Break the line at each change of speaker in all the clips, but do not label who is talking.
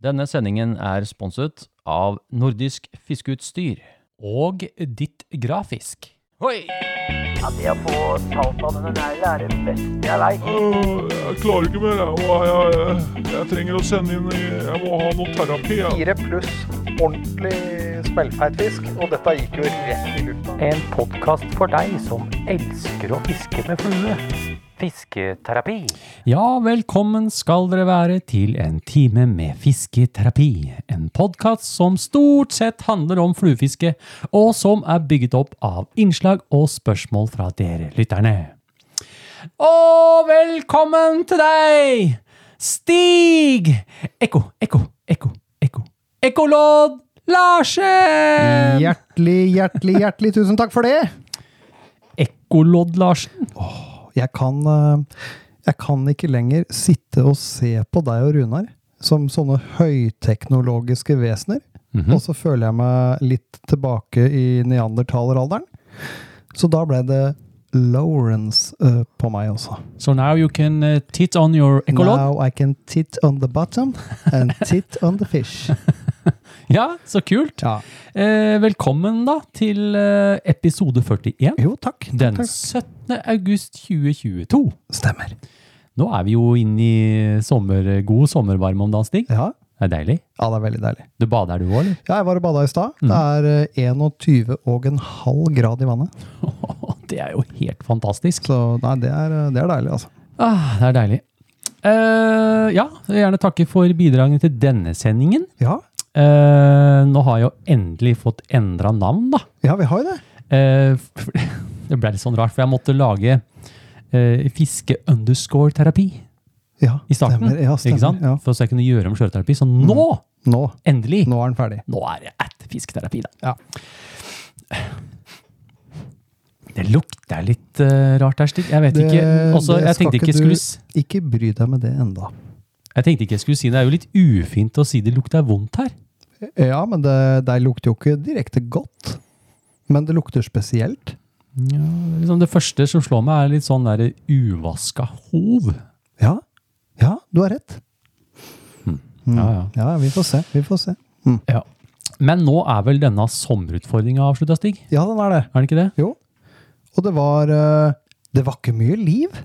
Denne sendingen er sponset av Nordisk Fiskeutstyr.
Og ditt grafisk.
Hoi!
Det å få talt av denne negla er det beste jeg veit.
Øh, Jeg klarer ikke mer. Jeg, Og jeg, jeg, jeg trenger å sende inn i- Jeg må ha noe terapi. Jeg.
Fire pluss ordentlig smellfeit fisk, og dette gikk jo rett i lufta.
En podkast for deg som elsker å fiske med flue. Fisketerapi.
Ja, velkommen skal dere være til en time med fisketerapi. En podkast som stort sett handler om fluefiske, og som er bygget opp av innslag og spørsmål fra dere lytterne. Og velkommen til deg, Stig! Ekko, ekko, ekko, ekko. Ekkolodd Larsen!
Hjertelig, hjertelig, hjertelig tusen takk for det!
Ekkolodd Larsen.
Jeg kan, eh, jeg kan ikke lenger sitte og se på deg og Runar som sånne høyteknologiske vesener. Og så føler jeg meg litt tilbake i neandertaleralderen. Så da ble det Lawrence eh, på meg også.
So now you can uh, tit on your ekkolodd.
Now I can tit on the bottom and tit on the fish.
Ja, så kult.
Ja.
Eh, velkommen da til eh, episode 41.
Jo, takk.
Den
Takk.
17. august 2022.
Stemmer.
Nå er vi jo inne i sommer, god sommervarme om dagen, Stig.
Ja.
Det er deilig.
ja, det er veldig deilig. Mm.
Du bader du òg, eller?
Ja, jeg var og bada i stad. Det er eh, 21,5 grad i vannet.
det er jo helt fantastisk.
Så nei, det er, det er deilig, altså.
Ah, det er deilig. Eh, ja, jeg vil gjerne takke for bidragene til denne sendingen.
Ja,
Eh, nå har jeg jo endelig fått endra navn, da.
ja vi har jo det.
Eh, for- det ble litt sånn rart, for jeg måtte lage eh, fiske-underscore-terapi.
Ja,
i starten.
Stemmer. Ja, stemmer.
ikke sant?
Ja.
For så jeg kunne gjøre om kjøreterapi. Så nå,
Nå,
endelig, nå.
nå er den ferdig.
er det at fisketerapi, da.
Ja.
Det lukter litt eh, rart her, Stig. Jeg vet ikke. Også,
det
jeg,
skal
tenkte ikke jeg
du-
skulle, s-
Ikke bry deg med det enda.
jeg tenkte ikke jeg skulle si det. Det er jo litt ufint å si det lukter vondt her.
Ja, men det, det lukter jo ikke direkte godt. Men det lukter spesielt.
Ja, liksom det første som slår meg, er litt sånn der uvaska hov.
Ja, ja du har rett.
Ja, ja.
Hm. Ja, vi får se. Vi får se. Mm.
ja. Men nå er vel denne sommerutfordringa avslutta, Stig?
Ja, den er det.
Er den ikke det?
Jo. Og det var eh, Det var ikke mye liv,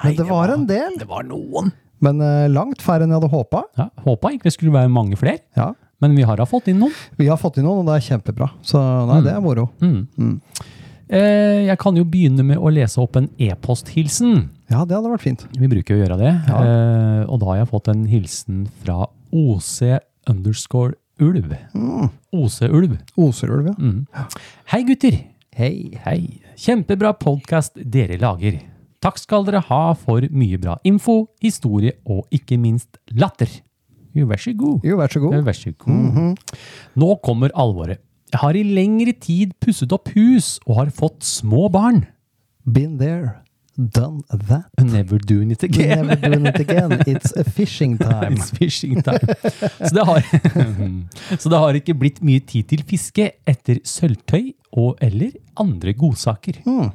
men det var en del.
Det var noen.
Men eh, langt færre enn jeg hadde håpa.
Ja, Håpa egentlig det skulle være mange flere,
Ja.
men vi har da fått inn noen.
Vi har fått inn noen, og det er kjempebra. Så nei,
Mm.
det er moro.
Eh, Jeg kan jo begynne med å lese opp en e-posthilsen.
Ja, det hadde vært fint.
Vi bruker jo å gjøre det. Eh, Og da har jeg fått en hilsen fra OC underscore ulv. OC ulv.
Oserulv, ja.
Mm. Hei gutter!
Hei.
Hei. Kjempebra podkast dere lager. Takk skal dere ha for mye bra info, historie og ikke minst latter. Jo, vær så god.
Jo, vær så god. Mhm.
Vær så god. Nå kommer alvoret. Jeg har i lengre tid pusset opp hus og har fått små barn.
Been there, done that.
Never doing it again.
Never doing it again. It's a fishing time.
It's fishing time. Så det, har, så det har ikke blitt mye tid til fiske etter sølvtøy og eller andre godsaker.
Mm.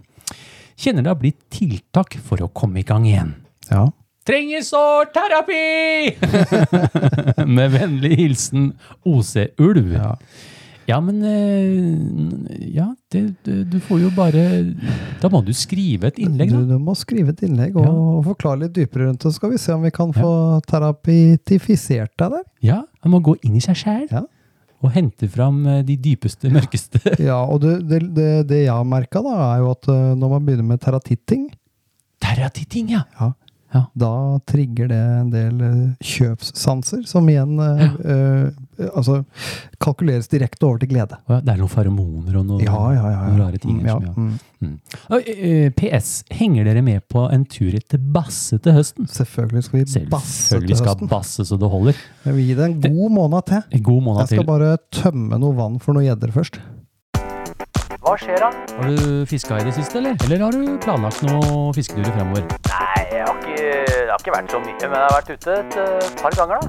Kjenner det har blitt tiltak for å komme i gang igjen.
Ja.
Trenger sårt terapi! Med vennlig hilsen OC Ulv. Ja. men eh, Ja, det, det, du får jo bare Da må du skrive et innlegg,
Du,
da.
du må skrive et innlegg og forklare litt dypere rundt det, så skal vi se om vi kan få terapitifisert deg der.
Ja, Han må gå inn i seg sjæl
Ja.
og hente fram eh, de dypeste, mørkeste
Ja, og det, det, det, det jeg har merka, da, er jo at eh, når man begynner med teratitting,
Terratitting, ja.
ja,
Ja.
da trigger det en del eh, kjøpssanser, som igjen eh, eh, altså, kalkuleres direkte over til glede.
Å ja, Det er noen feromoner og noen,
Ja, ja, ja.
noen
ja.
rare ting.
Mm, ja,
som, ja.
mm.
Oi, eh, PS. Henger dere med på en tur til Basse til høsten?
Selvfølgelig skal vi basse til
Selvfølgelig skal
høsten.
Basse så det holder.
Men vi gir det en god måned til.
En god måned
Jeg
til.
skal bare tømme noe vann for noen gjedder først.
Hva skjer da?
Har du fiska i det siste, eller? Eller har du planlagt noen fisketurer fremover?
Nei, jeg har ikke, det har ikke vært så mye, men jeg har vært ute et eh, par ganger, da.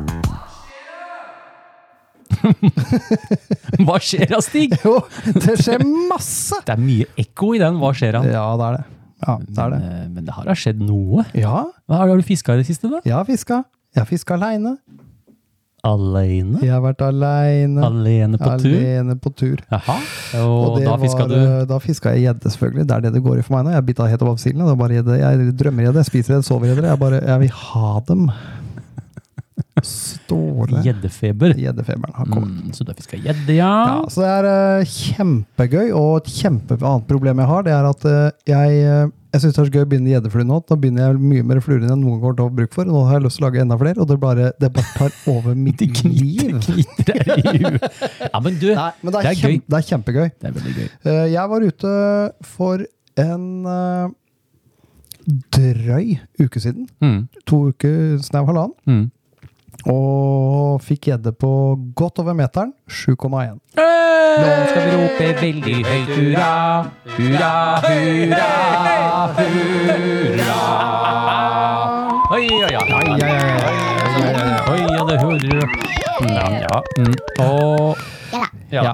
Hva skjer da, Stig?
Jo, det skjer masse!
Det er mye ekko i den. Hva skjer da?
Ja, det er det. Ja, det er det.
Eh, Men eh, det har da skjedd noe.
Ja,
Hva har du fiska i det siste, da?
jeg har fiska. Jeg har fiska aleine.
aleine?
Jeg har vært aleine.
Alene på tur?
Alene på tur.
Jaha. Og,
det
da fiska
var,
du
eh, Da fiska jeg gjedde, selvfølgelig. Det er det det går i for meg nå. Jeg biter helt over silden. Det er bare gjedde. Jeg drømmer gjedde, jeg spiser gjedde, sover gjedde. Jeg bare Jeg vil ha dem. Ståle
gjeddefeber.
Gjeddefeberen har kommet.
Mm, så du har fiska gjedde, ja.
Ja, så det er eh, kjempegøy, og et kjempe annet problem jeg har, det er at eh, jeg eh, jeg synes det er så gøy å begynne i gjeddeflue nå. Nå begynner jeg mye mer fluer enn jeg noen gang har bruk for. Nå har jeg lyst til å lage enda flere, og det bare, det bare tar over mitt
Det kniter,
liv.
kniter deg i huet. Ja, men du,
altså. Nei, men det er,
Det er
kjem,
gøy.
det er kjempegøy.
det er veldig gøy.
Eh, Jeg var ute for en eh, drøy uke siden.
Mm,
To uker, snau halvannen.
mm.
Og fikk gjedde på godt over meteren. 7,1. Eh.
Nå skal vi rope veldig høyt hurra, hurra, hurra, hurra. Oi, oi, oi, oi, oi, oi, ja, det hører Ja, ja. Mm. Og, ja.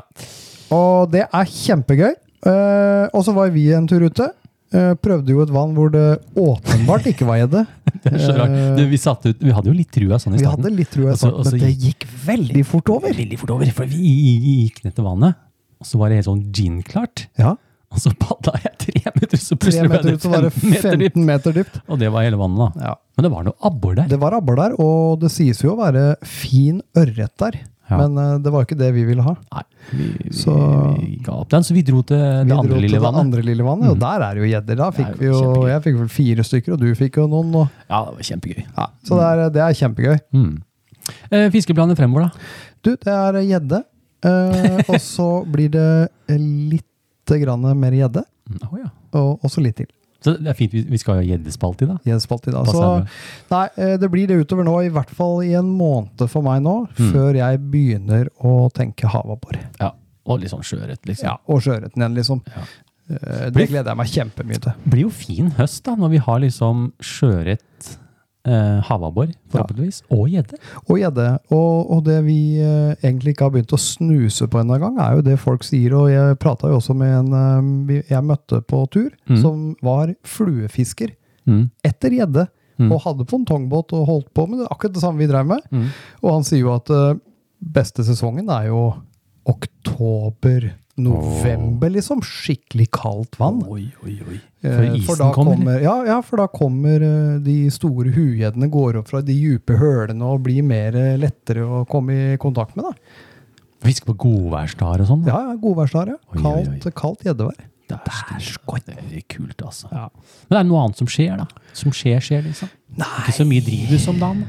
Og det er kjempegøy. Eh, og så var vi en tur ute. Eh, prøvde jo et vann hvor det åpenbart ikke var gjedde.
Det er så rart. Du, vi, satt ut, vi hadde jo litt trua sånn i
Eh. Vi
starten.
hadde litt trua, i
Og så-
starten,
og så
men det gikk veldig fort over.
Veldig fort over, for vi gikk ned til vannet, og så var det helt sånn ginklart.
Ja,
Og så padla jeg tre meter, så
Tre
plutselig ble
meter
det
ut, så var det
15 meter
15
dypt.
meter dypt.
Og det var hele vannet, da.
Ja.
Men det var noe abbor der.
Det var abbor der, og det sies jo å være fin ørret der.
Ja.
Men eh, det var ikke det vi ville ha.
Nei, vi, vi,
Så
vi ga opp den, så vi dro til
vi
det andre lille
det
vannet.
andre lille vannet, og der er det jo gjedder. Da fikk
Det er
vi
jo
jo
kjempegøy.
Jeg fikk vel fire stykker, og du fikk jo noen. Og,
Ja, det var kjempegøy.
ja. Så det er, det er kjempegøy.
Mm. Eh, Fiskeplaner fremover, da?
Du, det er gjedde. eh, og så blir det litt grann mer gjedde,
Mm, Å ja.
og også litt til.
Så det er fint, vi, vi skal jo ha gjeddespalt i dag.
Gjeddespalt i dag.
Hva
Så
sa du?
nei, eh, det blir det utover nå, i hvert fall i en måned for meg nå,
Mm.
før jeg begynner å tenke havabbor.
Ja. Og litt sånn sjøørret, liksom.
Ja, og sjøørreten igjen, liksom.
Ja.
Eh, Det gleder jeg meg kjempemye til.
Det blir jo fin høst, da, når vi har liksom sjøørret, eh, havabbor, forhåpentligvis, og gjedde.
Og gjedde. Og, og det vi eh, egentlig ikke har begynt å snuse på ennå engang, er jo det folk sier. Og jeg prata jo også med en eh, vi- jeg møtte på tur,
Mm.
som var fluefisker
Mm.
etter gjedde.
Mm.
Og hadde pongtongbåt og holdt på med det, akkurat det samme vi drev med.
Mm.
Og han sier jo at eh, beste sesongen er jo oktober. November, liksom. Skikkelig kaldt vann.
Oi, oi, oi. Før
Eh, for
isen
da
kommer.
kommer, ja, ja, for da kommer eh, de store hugjeddene går opp fra de dype hølene og blir mer eh, lettere å komme i kontakt med. da.
Fiske på godværsdager og sånn. da.
Ja, ja, Godværsdager.
Oi,
Ja.
oi, oi.
Kaldt, kaldt gjeddevær.
Det er skott. Det er kult, altså. Men det er noe annet som skjer, da. Som skjer, skjer, liksom. Ikke så mye drivhus om dagen.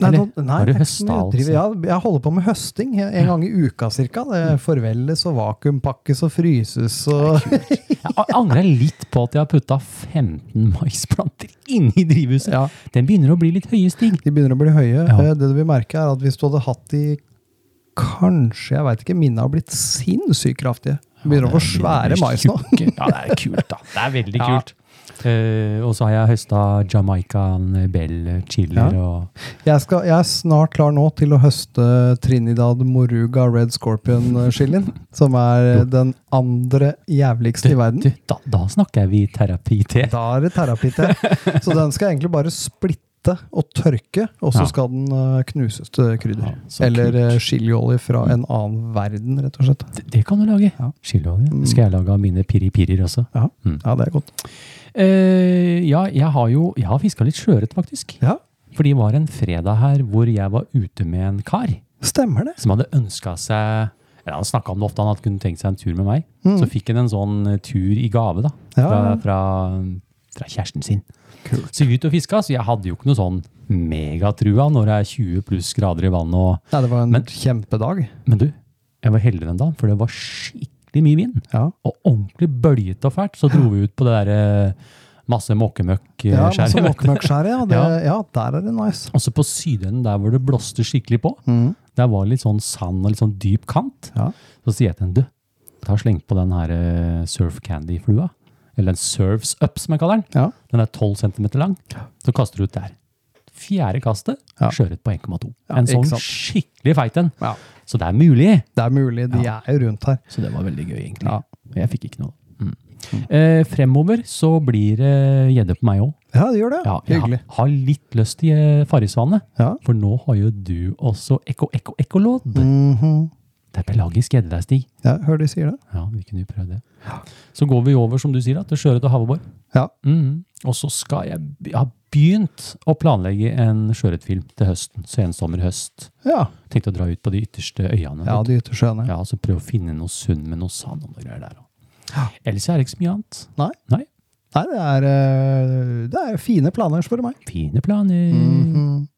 Nei,
Eller,
nå- nei,
har du altså?
det er ikke så mye
høsta,
å drive- Ja, jeg holder på med høsting eh, en gang i uka cirka. Det
Mm.
forvelles og vakuumpakkes og fryses og
Jeg a- angrer litt på at jeg har putta 15 maisplanter inni drivhuset.
Ja.
Den begynner å bli litt høye stig.
De begynner å bli høye.
Ja.
Eh, Det du vil merke, er at hvis du hadde hatt de Kanskje, jeg veit ikke, mine har blitt sinnssykt kraftige. Begynner å få svære mais nå.
Ja, det er kult, da. Det er veldig kult. Eh, og så har jeg høsta Jamaica, Bell, chiller
Ja.
og
Jeg, skal, jeg er snart klar nå til å høste Trinidad Moruga Red Scorpion-chilien. Som er den andre jævligste i
du,
verden.
da, da snakker vi terapi til.
Da er det terapi til. Så den skal jeg egentlig bare splitte og tørke, og så
Ja.
skal den eh, knuses til krydder.
Ja, så
Eller
kult. Mm.
eh, chiliolje fra en annen verden, rett og slett.
Det, det kan du lage.
Ja. Mm.
Chiliolje. Skal jeg lage av mine piri-pirier også?
Ja,
Mm.
ja det er godt.
Eh, ja, jeg har jo jeg har fiska litt sjøørret, faktisk.
Ja,
For det var en fredag her hvor jeg var ute med en kar
stemmer det.
som hadde ønska seg eller Han snakka om det ofte, han hadde kunne tenkt seg en tur med meg. Så fikk han en sånn eh, tur i gave da, fra,
Mm. Ja.
fra, fra kjæresten sin. Så vi ut og fiska, så jeg hadde jo ikke noe sånn megatrua når det er 20 pluss grader i vannet. og-
Nei, det var en
Men-
kjempedag.
Men du, jeg var heldigere enn da, for det var skikkelig mye vind.
Ja.
Og ordentlig bølgete og fælt. Så dro vi ut på det derre masse eh,
Ja,
måkemøkk-skjæret.
masse mokkmøkkskjære, ja. Det,
Ja.
ja, der er det nice.
Også på sydenden der hvor det blåste skikkelig på, der var litt sånn sand og litt sånn dyp kant.
Mm. Ja.
Så sier jeg til henne, du, ta og sleng på den her eh, surf candy-flua, eller en surfs up som jeg kaller den.
Ja.
Den er 12 centimeter lang. Så kaster du ut der. Fjerde kastet,
Ja.
skjøret på 1,2.
Ja,
en
ikke
sånn
sant.
skikkelig feit en.
Ja.
Så det er mulig.
Det er mulig, de er jo rundt her.
Så det var veldig gøy egentlig.
Ja.
Men Jeg fikk ikke noe. Mm. Eh, fremover så blir det gjedde på meg òg.
Ja, det gjør det.
Ja, jeg har,
Hyggelig.
har litt lyst til eh, Farrisvane,
Ja.
for nå har jo du også ekko-ekko-ekkolodd.
Mhm.
Det er pelagisk gjedde der, Stig.
ja, hør de sier det.
Ja, vi kunne jo prøvd det. Så går vi over, som du sier, da, til Sjøørret og Havreborg.
Ja.
Mhm. Og så skal jeg, jeg har begynt å planlegge en sjøørretfilm til høsten. Sensommer-høst.
Ja,
Tenkte å dra ut på de ytterste øyene.
ja
vet du.
de yttersjøene.
ja, så prøve å finne noe sund med noe sand og noe greier der. også. Ellers er det ikke så mye annet.
Nei.
Nei.
Nei, det er, eh, det er fine planer, spør du meg.
Fine planer.
Mhm.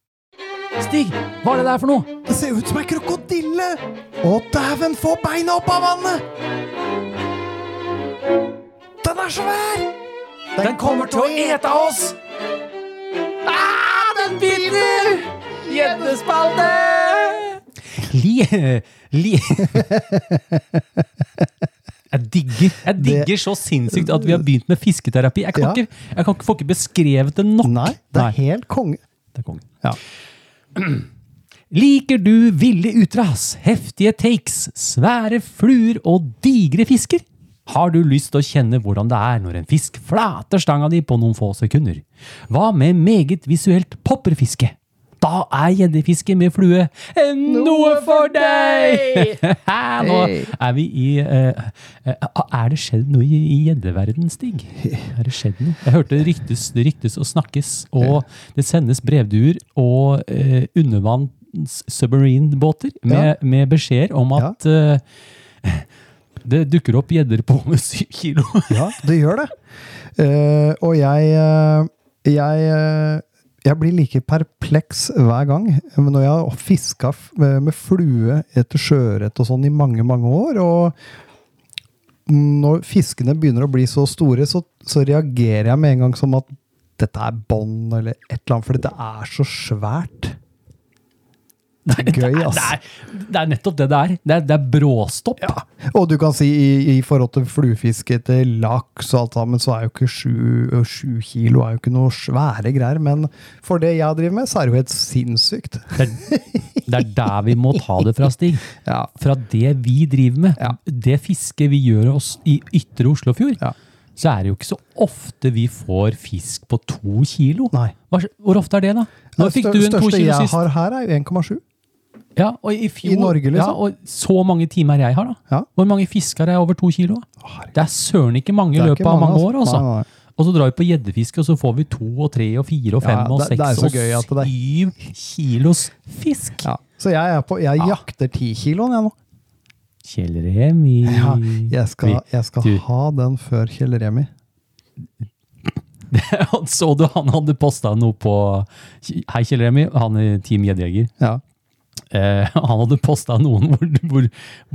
Stig, hva er det der for noe?
Det ser ut som ei krokodille! Å, dæven, få beina opp av vannet! Den er svær! Den, kommer til å ete oss! Ah, den vinner! Gjeddespalte!
Li... Li... Jeg digger, jeg digger så sinnssykt at vi har begynt med fisketerapi. Jeg kan,
Ja.
ikke, jeg kan ikke få ikke beskrevet det nok.
Nei, det er
Nei,
helt konge.
det er kongen.
Ja.
Liker du ville utras, heftige takes, svære fluer og digre fisker? Har du lyst til å kjenne hvordan det er når en fisk flater stanga di på noen få sekunder? Hva med meget visuelt popperfiske? Da er gjeddefiske med flue noe for deg! Nå er vi i eh, eh, Er det skjedd noe i i gjeddeverden, Stig? Er det skjedd noe? Jeg hørte det ryktes, det ryktes og snakkes, og det sendes brevduer og eh, undervanns-submarine-båter med, med beskjeder om at eh, det dukker opp gjedder på med syv kilo.
Ja, det gjør det. Eh, og jeg eh, jeg, eh, jeg blir like perpleks hver gang Men når jeg har fiska med, med flue etter sjøørret og sånn i mange, mange år. Og når fiskene begynner å bli så store, så, så reagerer jeg med en gang som at dette er bånd eller et eller annet, for det er så svært. Det er gøy, ass.
Det er, det er nettopp det det er. Det er, det er bråstopp.
Og du kan si i, i forhold til fluefiske etter laks og alt sammen, så er jo ikke sju, og sju kilo er jo ikke noe svære greier. Men for det jeg driver med, så er det jo helt sinnssykt.
Det er, det er der vi må ta det fra, Stig.
Ja.
Fra det vi driver med,
Ja.
det fisket vi gjør oss i ytre Oslofjord,
Ja.
så er det jo ikke så ofte vi får fisk på to kilo.
Nei.
Hva, hvor ofte er det, da? Når fikk
stør-
du en to
største
kilo
jeg
sist?
har her, er jo 1,7.
Ja, og i, fjor,
I Norge, liksom?
Ja, og så mange timer jeg har, da.
Ja.
Hvor mange fisker er over to kilo? Det er søren ikke mange i
Det er ikke
løpet av
mange,
mange
altså.
år, altså.
Nei, nei, nei.
Og så drar vi på gjeddefiske, og så får vi to og tre og fire og fem
Ja,
og
det- det er
seks
så gøy at det er-
og syv kilos fisk.
Ja. Så jeg, er på, jeg jakter 10 kiloen, jeg nå.
Kjell Remi
Ja, jeg skal,
Vi-
jeg skal
du-
ha den før Kjell Remi.
Han så du han hadde posta noe på Hei, Kjell Remi. Han er Team Gjeddejeger.
Ja.
Eh, han hadde posta noen hvor, hvor,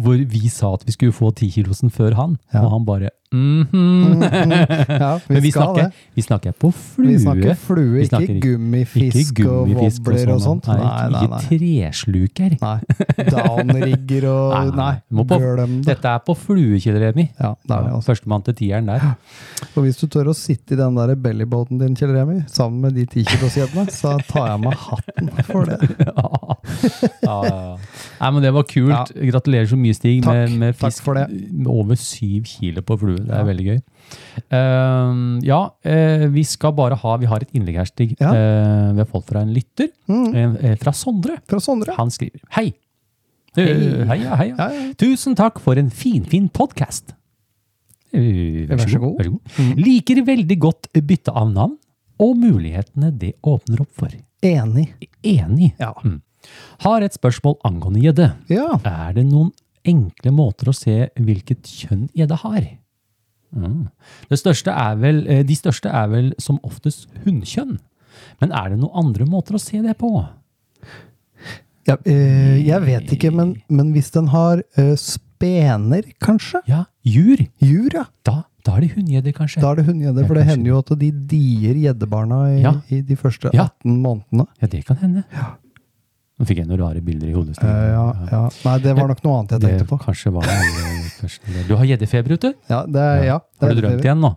hvor vi sa at vi skulle få 10-kilosen før han,
Ja.
og han bare mhm.
Ja, vi,
Men vi
skal
snakker,
det.
vi snakker på flue.
Vi snakker flue,
Vi
ikke
snakker ikke-
gummifisk,
ikke gummifisk sånn.
og wobbler og sånt.
Nei,
Nei, nei,
ikke-
nei.
Ikke tresluker.
Nei. Downrigger og Nei,
Må på,
glem det.
Dette er på flue, Kjell Remi.
Ja, det er det altså.
Førstemann til tieren der.
Og hvis du tør å sitte i den der bellyboaten din, Kjell Remi, sammen med de 10 kilosgjedene, så tar jeg meg hatten for det.
ja, ja, ja. Nei, men det var kult. Gratulerer så mye, Stig,
Takk.
med, med
Takk
fisk
for det.
med over syv kilo på flue. Det er veldig gøy. Ehm, ja, eh, vi skal bare ha Vi har et innlegg her, Stig.
Ja. Mm.
Eh, vi har fått fra en lytter. eh, fra Sondre.
Fra Sondre.
Han skriver Hei! Eh, Hei, ja, hei. ja.
Ja, ja.
Tusen takk for en finfin podkast. Eh, Vær
så god. Mm.
Vær så god. Liker veldig godt bytte av navn og mulighetene det åpner opp for.
Enig.
Enig.
Ja.
Mm. Har et spørsmål angående gjedde.
Ja.
Er det noen enkle måter å se hvilket kjønn gjedde har? Mm. Det største er vel, eh, de største er vel som oftest hunnkjønn. Men er det noen andre måter å se det på?
ja eh, jeg vet ikke, men, men hvis den har eh, spener, kanskje?
Ja, jur.
Jur, ja.
Da, da er det hunngjedder, kanskje.
Da er det hundegjedde, for det hender jo at de dier gjeddebarna i,
Ja.
i de første
Ja.
18 månedene.
Ja, det kan hende. Nå fikk jeg noen rare bilder i hodet. Stig.
Eh, ja, ja. Nei, det var nok noe annet jeg
Det
tenkte på.
kanskje var noe- kanskje det. Du har gjeddefeber ute?
Ja, det, er- ja, det
Har
er
du drømt igjen nå?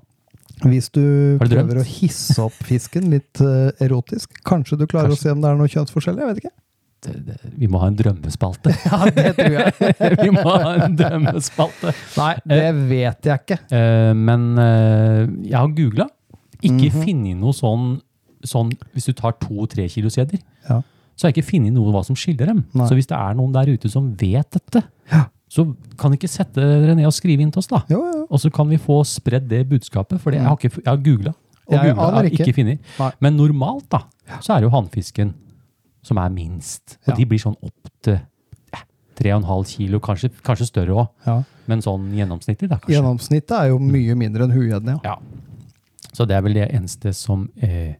Hvis du
Har du drømt?
prøver å hisse opp fisken litt eh, erotisk, kanskje du klarer
Kanskje.
å se om det er noe kjønnsforskjell? Jeg vet ikke.
det- det- Vi må ha en drømmespalte.
Ja, det tror jeg.
vi må ha en drømmespalte.
Nei, det vet jeg ikke.
Eh, men eh, jeg har googla. Ikke
Mhm.
funnet noe sånn, sånn Hvis du tar to-tre kilos gjedder,
Ja.
så har jeg ikke funnet noe hva som skiller dem.
Nei.
Så hvis det er noen der ute som vet dette, så kan ikke sette dere ned og skrive inn til oss, da.
Jo, jo, jo.
Og så kan vi få spredd det budskapet, for det, jeg har, ikke- jeg har googla. Og
Jeg
googlet,
aner
jeg har
ikke.
ikke funnet.
Nei.
Men normalt da, så er det jo hannfisken som er minst. Og
Ja.
de blir sånn opp til ja, 3,5 kilo, kanskje, kanskje større òg.
Ja.
Men sånn gjennomsnittlig, da, kanskje.
Gjennomsnittet er jo mye mindre enn huegjedden, ja.
Ja. Så det er vel det eneste som eh,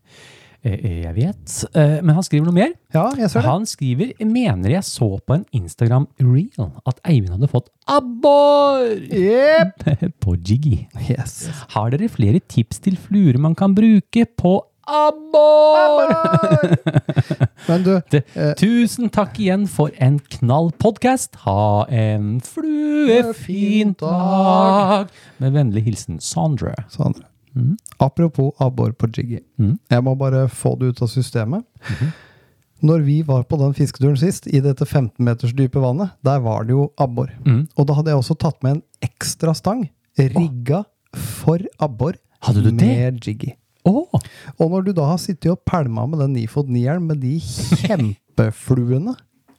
eh, jeg vet. Eh, men han skriver noe mer.
Ja, jeg ser det.
Han skriver mener jeg så på en Instagram-reel at Eivind hadde fått abbor
Jepp!
på Jiggy.
Yes.
Har dere flere tips til fluer man kan bruke på abbor?
Men du, eh,
Tusen takk igjen for en knall podcast. Ha en fluefin dag! Med vennlig hilsen Sandra.
Sandra.
Mm.
Apropos abbor på Jiggy. Jeg må bare få det ut av systemet.
Mhm.
Når vi var på den fisketuren sist, i dette 15 meters dype vannet, der var det jo abbor.
Mm.
Og da hadde jeg også tatt med en ekstra stang, rigga for abbor,
Hadde du det?
med jiggy.
Åh,
Og når du da har sittet og pælma med den Nifod 9-eren med de kjempefluene,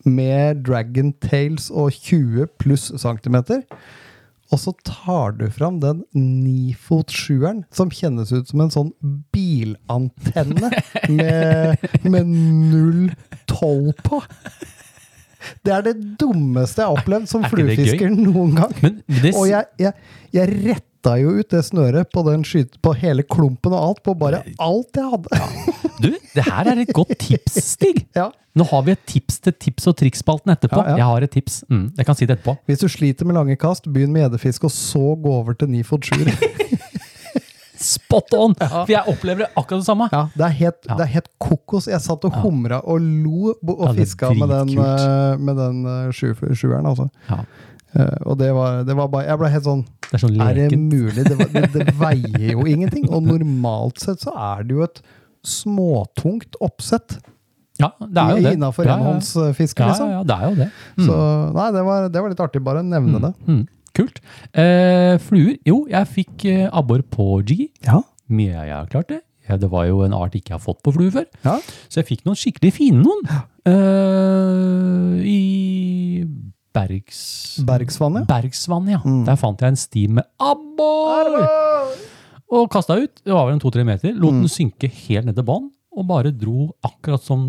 med dragon tails og 20 pluss centimeter, og så tar du fram den nifot 7-eren, som kjennes ut som en sånn bilantenne med, med null toll på. Det er det dummeste jeg har opplevd som
Er ikke det
fluefisker noen gang.
Men det,
Og jeg, jeg, jeg retta jo ut det snøret på, den skyt, på hele klumpen og alt, på bare alt jeg hadde.
du, det her er et godt tips, Stig.
Ja.
Nå har vi et tips til tips og triks-spalten etterpå.
Ja, ja.
Jeg har et tips. Mm, jeg kan si det etterpå.
Hvis du sliter med lange kast, begynn med gjeddefiske, og så gå over til nifot 7.
Spot on! For jeg opplever akkurat det samme.
Ja, det er helt, det er helt kokos. Jeg satt og humra og lo bo- og
Ja, det er
fiska med den,
dritkult.
eh, med den eh, sju- sjueren, altså.
Ja.
Eh, Og det var, det var bare Jeg ble helt sånn
Det er sånn
Er det
leken.
mulig? Det, var, det, det veier jo ingenting. Og normalt sett så er det jo et småtungt oppsett
Ja, det er jo det.
innafor
Ja, ja, ja.
enhåndsfiske,
Ja, ja,
liksom.
ja, det er jo det.
Så nei, det var, det var litt artig. Bare nevne det.
Mm, kult. Eh, fluer. Jo, jeg fikk eh, abbor på jiggy.
Ja.
Mye jeg har klart det. Ja, det var jo en art ikke jeg har fått på flue før.
Ja.
Så jeg fikk noen skikkelig fine noen. Eh, I Bergs...
Bergsvannet.
Bergsvann, ja. Der fant jeg en sti med abbor! Og kasta ut. Det var vel en to-tre meter. Lot den synke helt ned til bånn, og bare dro akkurat som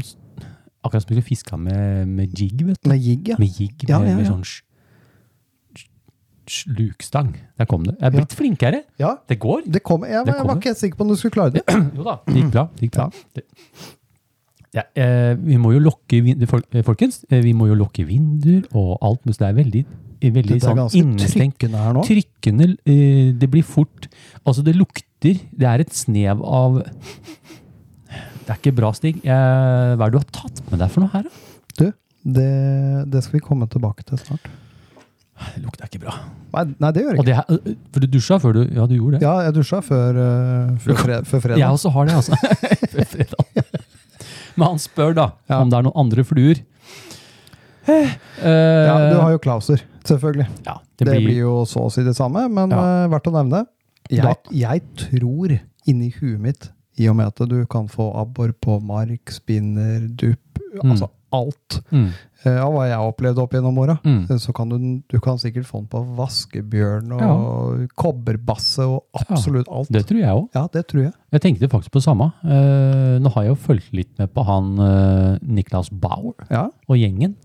Akkurat som du fiska med, med jig, vet du.
Med jigg, ja.
Med jig, med,
Ja, ja,
med
ja.
sånn sj- sj- slukstang. Der kom det. Jeg er blitt flinkere.
ja.
Det går.
Det kom, jeg,
Det
jeg var
kommer.
ikke helt sikker på om du skulle klare det.
Jo da, det gikk bra. Det gikk bra. Det. Ja, eh, vi må jo lokke vin- fol- eh, Folkens, eh, vi må jo lokke vinduer og alt, men det er veldig, eh, veldig
Dette er
sånn
ganske
innestengt.
trykkende her nå.
Trykkende, eh, det blir fort Altså, det lukter Det er et snev av Det er ikke bra, Stig. Eh, hva er det du har tatt med deg for noe her, da?
Du, det, det skal vi komme tilbake til snart.
Det lukter ikke bra.
Nei, nei det gjør
Og
jeg ikke.
det her, eh, for du dusja før du Ja, du gjorde det.
Ja, jeg dusja før, eh, før, fre, før fredag.
Jeg også har det, altså. Før fredag. Men han spør da
Ja. Eh,
om det er noen andre fluer. Eh,
Ja, du har jo Klauser, selvfølgelig.
ja,
Det blir, jo så å si det samme, men
Ja.
eh, verdt å nevne.
Da-
Jeg, jeg tror inni huet mitt, i og med at du kan få abbor på mark, spinner, dupp, altså alt
mm,
eh, av hva jeg har opplevd opp gjennom åra,
Mm.
eh, så kan du, den- du kan sikkert få den på vaskebjørn og kobberbasse og absolutt alt.
Det tror jeg òg.
Ja, det tror jeg.
Jeg tenkte faktisk på det samme. Eh, nå har jeg jo fulgt litt med på han eh, Niklas Bauer
Ja,
og gjengen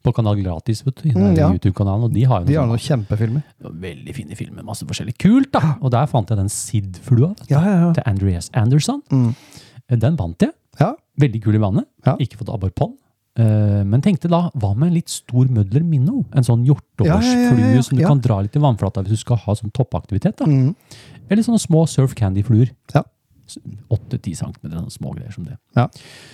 på Kanal Gratis, vet du. i
Mm,
den
ja.
YouTube-kanalen, og de har jo
De har
noen
noen kjempefilmer.
sånne veldig fine filmer. Masse forskjellig kult, da! Og der fant jeg den Sid-flua vet du,
Ja, ja, ja.
til Andreas Anderson.
Mm.
Eh, Den vant jeg.
Ja.
Veldig kul i vannet.
Ja.
Ikke fått abbor på den. Eh, Men tenkte da, hva med en litt stor mødler minno? En sånn
Ja, ja, ja,
hjorteårsflue
ja, ja.
som du
Ja.
kan dra litt i vannflata hvis du skal ha sånn toppaktivitet. da.
Mm.
Eller sånne små surf candy-fluer.
Ja.
8-10 cm, sånne små greier som det.
Ja.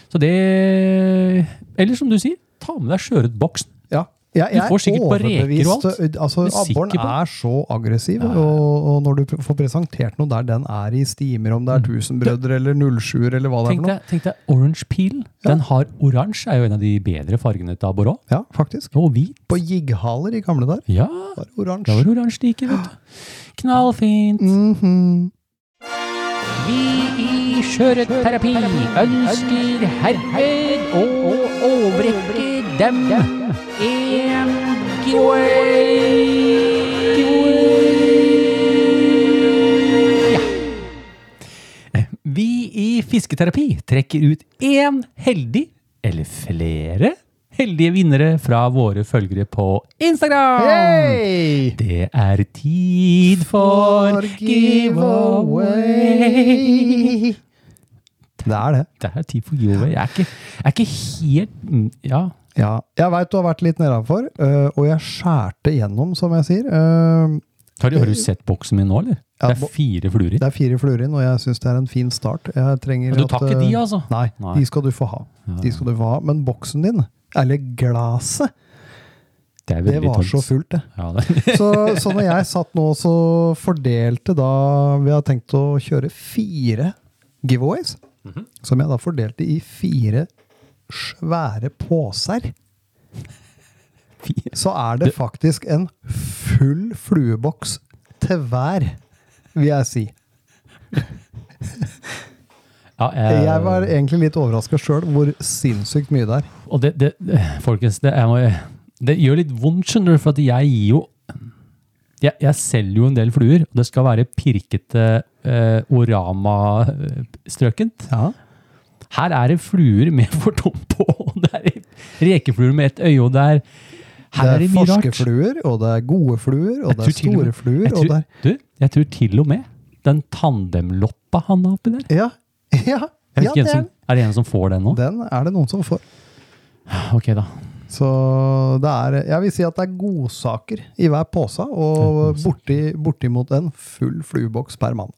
Så det Eller som du sier, ta med deg sjøørretboksen.
Ja, Jeg,
Du får sikkert på reker og
overbevist.
alt.
Altså,
Du er sikker
Abboren
på det?
er så aggressiv, og, og når du pr- får presentert noe der den er i stimer, om det er tusenbrødre eller nullsjuer eller hva
Mm. Tenk
det er for noe.
deg, tenk deg orange peel. Den har Oransje er jo en av de bedre fargene til Aborat.
Ja, faktisk.
Og hvit.
På jigghaler i gamle dager
Ja,
var
da
oransje.
var det oransje like, vet du. Knallfint.
Mhm.
Vi i Skjøreterapi ønsker herved å overrekke dem en giveaway. Vi i Fisketerapi trekker ut én heldig, eller flere, heldige vinnere fra våre følgere på Instagram.
Hey!
Det er tid for giveaway.
Det er det.
Det er tid for giveaway. Jeg er ikke, jeg er ikke helt mm, Ja.
Ja, jeg veit du har vært litt nedafor, øh, og jeg skjærte gjennom, som jeg sier. Øh,
Har du, har du sett boksen min nå, eller?
Ja,
det
bo-
er fire fluer i.
Det er fire fluer inn, og jeg syns det er en fin start. Jeg trenger
Men du tar
at,
ikke
øh,
de, altså?
Nei,
Nei.
de skal du få ha. De skal du få ha. Men boksen din, eller glaset,
Det, er
det
veldig
var
tomt.
så fullt, det.
Ja, det.
Så, så når jeg satt nå så fordelte da Vi har tenkt å kjøre fire giveaways.
Mhm.
Som jeg da fordelte i fire svære poser.
Fire.
Så er det faktisk en full flueboks til hver, vil jeg si.
Ja, jeg,
Jeg var egentlig litt overraska sjøl hvor sinnssykt mye det er.
Og det, det Folkens, det, jeg må, det gjør litt vondt, skjønner du, for at jeg gir jo jeg, jeg selger jo en del fluer, og det skal være pirkete eh, orama-strøkent.
Ja.
Her er det fluer med fordom på, og det er rekefluer med ett øye, og det er Her er det mye rart.
Forskerfluer, og det er gode fluer,
Jeg
og det er
tror til og
store
med-
fluer,
jeg
og det
tror,
er
Du, jeg tror til og med den tandemloppa han har oppi der
Ja, ja,
jeg vet
ja
ikke,
det
en
er,
som, Er det en som får den nå?
den er det noen som får.
Ok, da.
Så det er Jeg vil si at det er godsaker i hver pose, og borti, bortimot en full flueboks per mann.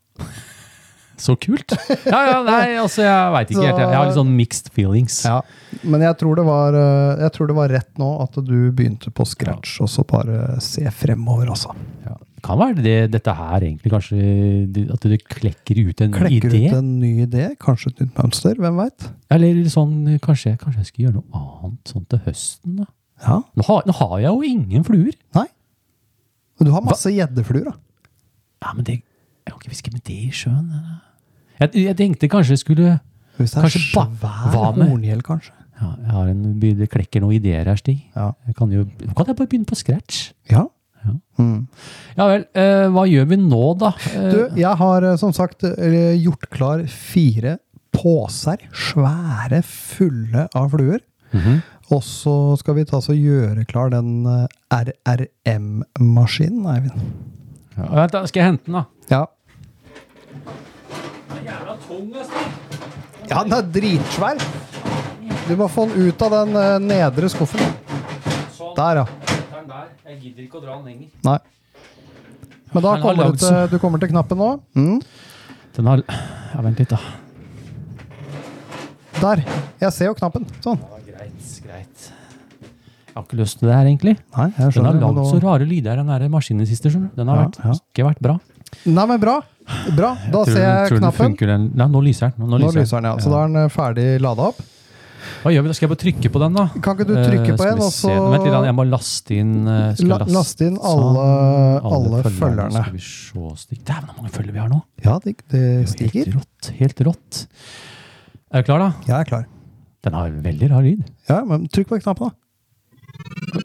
Så kult! Ja, ja, nei, altså, jeg veit ikke
Så-
helt. Jeg har litt sånn mixed feelings.
Ja, Men jeg tror, det var, eh, jeg tror det var rett nå at du begynte på scratch, og så bare se fremover, altså.
Ja. Kan være det, dette her egentlig kanskje det- At det klekker ut en
Klekker
idé?
ut en ny idé, kanskje et nytt mønster, hvem veit?
Eller sånn kanskje, kanskje jeg skal gjøre noe annet sånn til høsten, da?
Ja.
Nå har, nå har jeg jo ingen fluer.
Nei. Du har masse gjeddefluer, da.
Ja, men det, Jeg kan ikke fiske med det i sjøen. eller? Jeg, jeg tenkte kanskje jeg skulle
Hvis det er
Kanskje ba-
svær
hva med-
horngjell, kanskje.
Ja, jeg har en, det klekker noen ideer her, Stig.
Ja.
Jeg kan jo, nå kan jeg bare begynne på scratch?
Ja.
Ja.
Mm.
Ja vel, eh, hva gjør vi nå da? Eh,
Du, jeg har eh, som sagt eh, gjort klar fire poser, svære, fulle av fluer. Og så skal vi ta så gjøre klar den eh, RRM-maskinen, Eivind.
ja, vent da, skal jeg hente den da?
Ja. Ja, den er dritsvær! Du må få den ut av den eh, nedre skuffen. Der, ja.
Jeg gidder ikke å dra den lenger.
Nei. Men da
Han har
kommer
lagd
du til, du kommer til knappen nå. Mm.
Den har, ja, vent litt da.
Der. Jeg ser jo knappen. Sånn.
greit, greit. Jeg har ikke lyst til det her egentlig.
Nei, jeg
Den har
men
lagd
nå-
så rare lyder, den der maskinen i siste, skjønner du? Den har
Ja,
vært,
ja.
ikke vært bra.
Nei, men bra. Bra. Da
Tror du- tror
ser Altså, jeg
du
knappen.
funker Den, nei, nå lyser den. Nå,
Nå lyser den, ja. Så da er den eh, ferdig lada opp.
Hva gjør vi da? Skal jeg bare trykke på den da?
Kan ikke du trykke
Eh,
på
skal
en,
vi
og
se.
så-
Vent litt, da, jeg må laste inn... eh, skal
La,
jeg
last inn alle,
Sånn,
alle følgerne.
Skal vi se, Stig. Dæven, hvor mange følgere vi har nå!
Ja, det, det stiger.
Helt rått. Helt rått. Er du klar, da?
Jeg er klar.
Den har veldig rar lyd.
Ja, men trykk på knappen, da.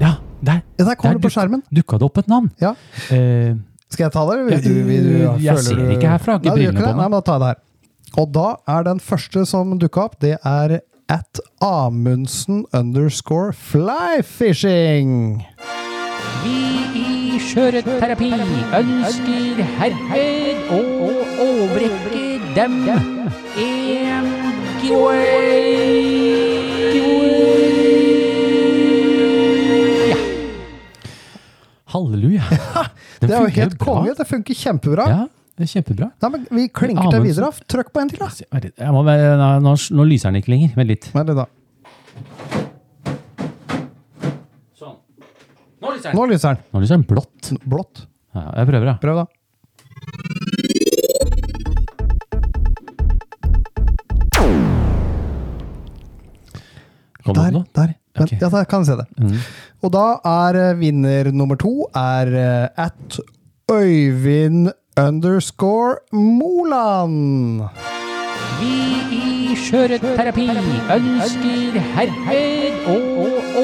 Ja, der!
Ja, der kommer
Der
det på skjermen.
Dukka det opp et navn?
Ja.
Eh,
Skal jeg ta det? eller Vil
Ja,
du, vil du,
øh, jeg
føler
ser
du-
ikke herfra, ikke
Nei, du gjør
brillene på
ikke det?
meg.
Nei, men da tar jeg det her. Og da er den første som dukka opp, det er at Amundsen underscore flyfishing.
Vi i Skjøreterapi ønsker herved å overrekke dem en giveaway.
halleluja! Den
Det er jo
funker
helt
bra.
konge. Det funker kjempebra.
Ja. Det er kjempebra.
Nei, men vi klinker til
Amundsen.
videre. Trykk på en til, da.
Se, vent litt. Jeg må, være- nei, nå, nå lyser den ikke lenger. Vent litt.
Nei, det da.
Sånn. Nå lyser
Nå lyser den.
Nå lyser den blått.
Blått.
Ja, jeg prøver, da.
Prøv, da.
Kom det
Der.
opp noe?
der. Men,
Ok.
Ja, der kan jeg se det. Og da er eh, vinner nummer to er eh, at Øyvind underscore Moland.
Vi i Skjøreterapi ønsker herved å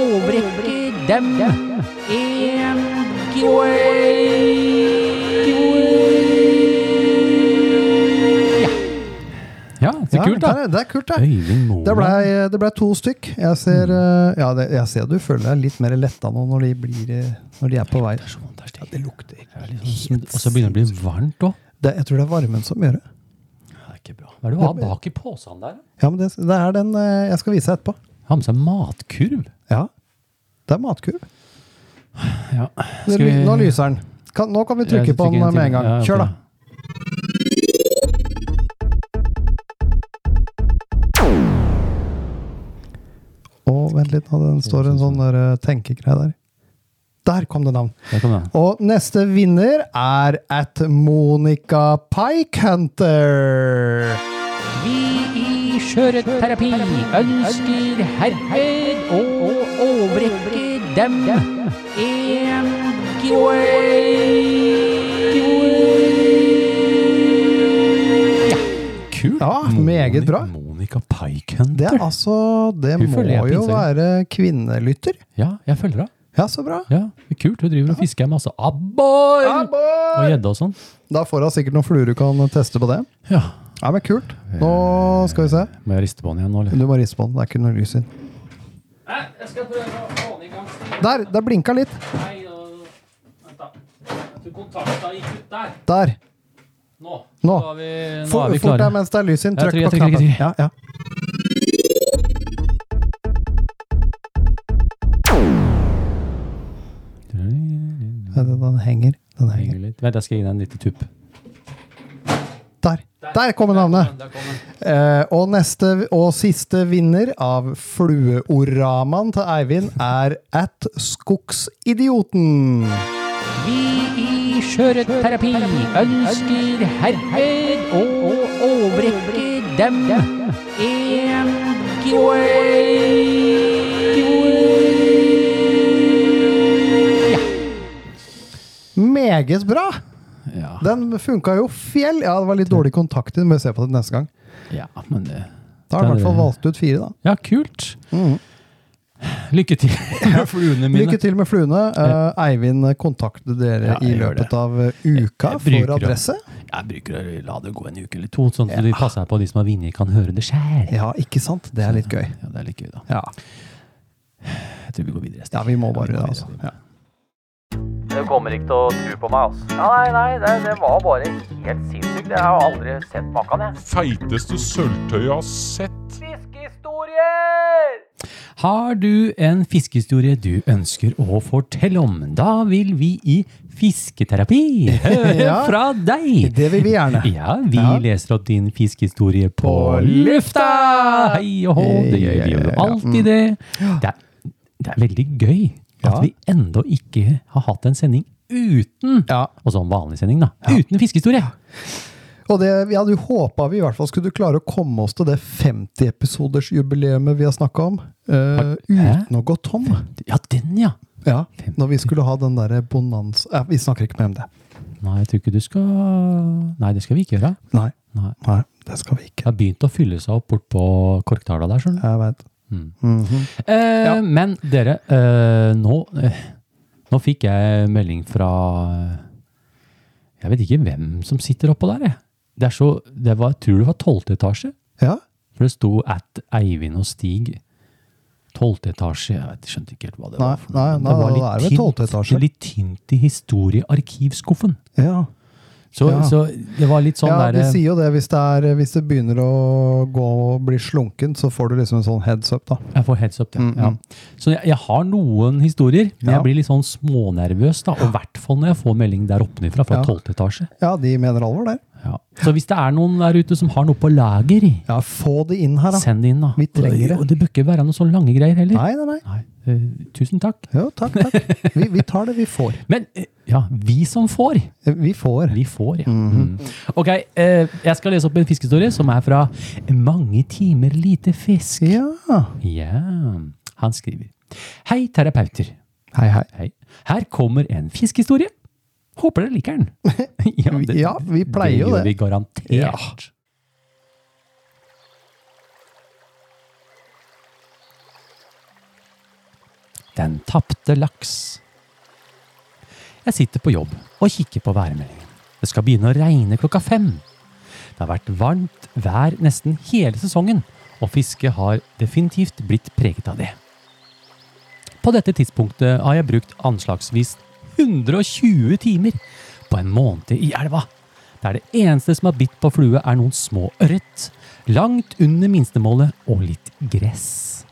overrekke dem en giveaway. Ja, så kult,
Det
da.
er, det er kult, det.
Øyvind Moland.
Det ble, eh, det ble to stykk. Jeg ser, eh, ja, det, jeg ser du føler deg litt mer letta nå når de, blir, eh, når de er på vei. Ja, det lukter
Og så begynner det å bli varmt òg.
det, Jeg tror det er varmen som gjør det.
Hva er det du har bak i posen der?
Ja, men det, det er den eh, jeg skal vise deg etterpå.
Har med seg matkurv.
Ja, det er matkurv.
Ja.
Det ly- Nå lyser den. Kan, nå kan vi trykke på den eh, med en gang. Kjør, da. Og vent litt, nå, den står en sånn der, eh, tenkegreie der. Der kom det navn.
Der kom den.
Og neste vinner er at Monica Pikehunter.
Vi i Skjøreterapi ønsker herved å overrekke dem en giveaway. Ja. Kult.
Ja, meget bra.
Monica Pikehunter.
Det er altså Det
Hun
må
føler jeg er
jo
pinnsam.
være kvinnelytter.
Ja, jeg følger henne.
Ja, så bra.
Ja, det er kult. Hun driver og fisker masse abbor og gjedde og sånn.
Da får hun sikkert noen fluer du kan teste på det.
Ja.
Ja, men kult. Nå skal vi se.
Må jeg riste på den igjen nå, eller?
Du må riste på den. Det er ikke noe lys inn.
Jeg skal prøve å få den i gang.
Der! Det blinka litt.
Nei, vent da. Jeg tror kontakta gikk ut der.
Der.
Nå.
Nå.
er vi, nå
For,
er vi
fort
klare.
deg mens det er lys inn.
Jeg
Trykk
trykker, jeg
på
trykker,
knappen.
jeg
Ja, ja. Ja, Den, den henger. Den henger.
Henger litt. Vent, jeg skal gi deg en liten tupp.
Der. Der kommer navnet! Eh, og neste og siste vinner av flueoramaen til Eivind er at Skogsidioten.
Vi i Skjøreterapi ønsker herved å overrekke dem en giveaway.
Meget bra!
Ja.
Den funka jo fjell. Ja, det var litt dårlig kontakt i den, må jeg se på det neste gang.
ja, men det
Da har du i
Den-
hvert fall valgt ut fire, da.
Ja, kult.
Mm.
Lykke til, fluene mine.
Lykke til med fluene. Eh, Eivind, kontakt dere
Ja, jeg
i
gjør
løpet av eh, uka
Jeg bruker
for
det.
adresse.
Jeg bruker å la det gå en uke eller to, sånn at de passer på at de som har vunnet, kan høre det sjæl.
Ja, ikke sant? Det er litt gøy.
Ja, det er litt gøy, da.
Ja,
Jeg tror vi går videre.
ja vi må bare det, altså. Ja.
Du kommer ikke til å tro på meg, altså. Nei, nei, det, det var bare helt sinnssykt. Jeg har aldri sett maken, jeg.
Feiteste sølvtøyet jeg har sett.
Fiskehistorier!
Har du en fiskehistorie du ønsker å fortelle om? Da vil vi i Fisketerapi høre
Ja.
fra deg!
Det vil vi gjerne.
Ja, vi
Ja.
leser opp din fiskehistorie på
På
lufta! Hei og hå, det gjør vi jo
Ja.
alltid det. Det er, det er veldig gøy at
Ja.
vi enda ikke har hatt en sending uten,
Ja.
og sånn vanlig sending da, uten fiskehistorie.
Og det, vi hadde jo håpa vi i hvert fall skulle klare å komme oss til det 50-episodersjubileumet vi har snakka om, eh,
Hæ?
uten å gå tom.
Ja, den ja.
Ja, Når vi skulle ha den derre bonanza eh, Vi snakker ikke mer om det.
Nei, jeg tror ikke du skal... Nei, det skal vi ikke gjøre.
Nei.
Nei.
Nei, det skal vi
Det
ikke.
har begynt å fylle seg opp bort på korktala der, skjønner du.
Jeg Mhm. veit.
Mm. Eh, Men dere, eh, nå, eh, nå fikk jeg melding fra eh, Jeg vet ikke hvem som sitter oppå der, jeg. Det er så, det var, jeg tror det var 12. etasje.
Ja?
For det sto at Eivind og Stig 12. etasje. Jeg vet, skjønte ikke helt hva det
Nei,
var. for noe,
nei,
men
nei, det er vel 12.
tynt,
etasje.
det er litt tynt i historiearkivskuffen.
ja.
Så,
Ja.
så det var litt sånn
ja, de
der
sier jo det. Hvis det, er, hvis det begynner å gå og bli slunken, så får du liksom en sånn heads up, da.
Jeg får heads up, ja.
Mm, mm.
ja. Så jeg, jeg har noen historier, men
Ja.
jeg blir litt sånn smånervøs, da. Og i hvert fall når jeg får melding der oppenifra, fra
Ja.
tolvte etasje.
Ja, de mener alvor der.
Ja. Så hvis det er noen der ute som har noe på lager,
Ja, få de inn her, da.
send det inn, da.
Vi trenger det.
Og det bør ikke være noen sånne lange greier heller.
Nei, nei, nei.
Eh, tusen takk.
Jo, takk, takk. Vi, vi tar det vi får.
Men eh, ja, vi som får,
Vi får.
vi får, ja.
Mhm.
Mm. Ok, eh, jeg skal lese opp en fiskehistorie som er fra Mange timer lite fisk.
Ja.
Ja. Han skriver Hei, terapeuter.
Hei, hei.
Hei. Her kommer en fiskehistorie. Håper dere liker den. ja,
Ja, vi pleier jo
gjør
det.
vi garantert.
Ja.
Den tapte laks. Jeg sitter på jobb og kikker på værmeldingen. Det skal begynne å regne klokka fem. Det har vært varmt vær nesten hele sesongen, og fisket har definitivt blitt preget av det. På dette tidspunktet har jeg brukt anslagsvis 120 timer på en måned i elva. Der det eneste som har bitt på flue, er noen små ørret, langt under minstemålet og litt gress.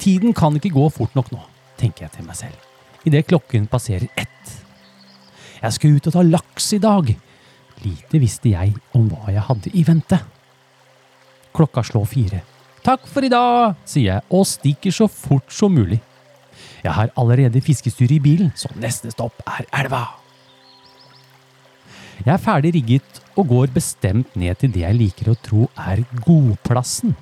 Tiden kan ikke gå fort nok nå, tenker jeg til meg selv, idet klokken passerer ett. Jeg skal ut og ta laks i dag. Lite visste jeg om hva jeg hadde i vente. Klokka slår fire. Takk for i dag, sier jeg og stikker så fort som mulig. Jeg har allerede fiskestyret i bilen, så neste stopp er elva. Jeg er ferdig rigget og går bestemt ned til det jeg liker å tro er godplassen.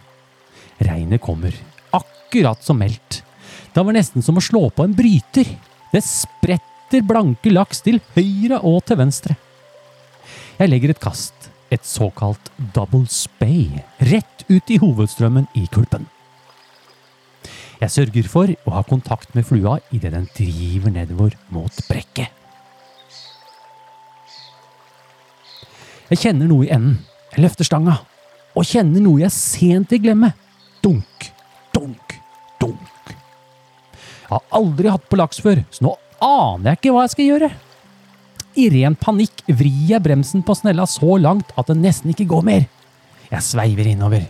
Regnet kommer, akkurat som meldt. Det var nesten som å slå på en bryter. Det spretter blanke laks til høyre og til venstre. Jeg legger et kast, et såkalt double spay, rett ut i hovedstrømmen i kulpen. Jeg sørger for å ha kontakt med flua idet den driver nedover mot brekket. Jeg kjenner noe i enden. Jeg løfter stanga og kjenner noe jeg sent vil glemme. Dunk, dunk, dunk. Jeg har aldri hatt på laks før, så nå aner jeg ikke hva jeg skal gjøre. I ren panikk vrir jeg bremsen på snella så langt at den nesten ikke går mer. Jeg sveiver innover.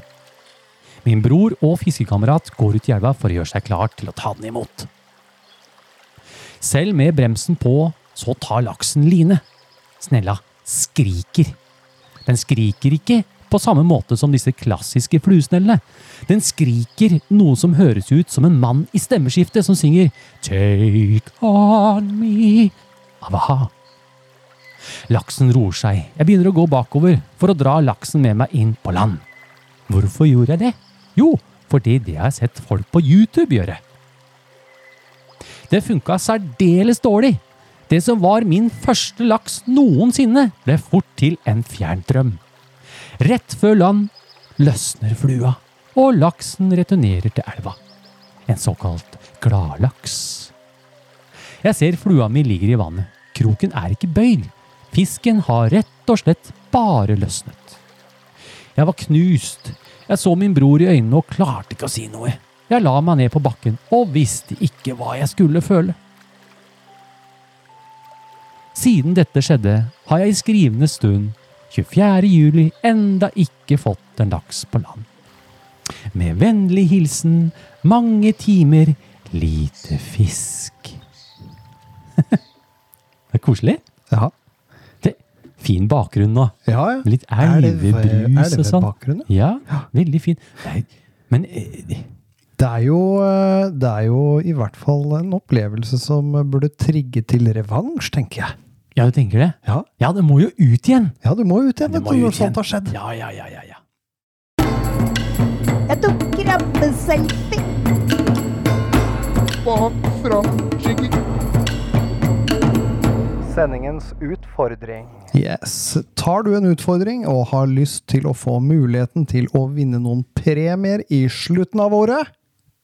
Min bror og fiskekamerat går ut i elva for å gjøre seg klar til å ta den imot. Selv med bremsen på, så tar laksen line. Snella skriker. Den skriker ikke på samme måte som disse klassiske fluesnellene. Den skriker noe som høres ut som en mann i stemmeskiftet som synger Take on me av a-ha. Laksen roer seg. Jeg begynner å gå bakover for å dra laksen med meg inn på land. Hvorfor gjorde jeg det? Jo, fordi det har jeg sett folk på YouTube gjøre. Det funka særdeles dårlig. Det som var min første laks noensinne, ble fort til en fjern drøm. Rett før land løsner flua, og laksen returnerer til elva. En såkalt gladlaks. Jeg ser flua mi ligger i vannet. Kroken er ikke bøyd. Fisken har rett og slett bare løsnet. Jeg var knust. Jeg så min bror i øynene og klarte ikke å si noe. Jeg la meg ned på bakken og visste ikke hva jeg skulle føle. Siden dette skjedde, har jeg i skrivende stund 24. juli enda ikke fått en laks på land. Med vennlig hilsen mange timer lite fisk. Det er koselig.
Ja,
Det, fin bakgrunn nå.
ja. ja.
Litt elvebrus og sånn.
Elvebakgrunnen?
Ja, veldig fin. Nei, men eh,
Det er, jo, eh, det er jo i hvert fall en opplevelse som burde trigge til revansj, tenker jeg.
Ja, du tenker det?
Ja,
Ja, det må jo ut igjen!
ja du må jo ut igjen
Det
vet
må
du,
jo ut
når
igjen.
sånt har skjedd.
Ja, ja, ja, ja, ja.
Jeg tok krabbeselfie.
Sendingens utfordring.
Yes. Tar du en utfordring og har lyst til å få muligheten til å vinne noen premier i slutten av året,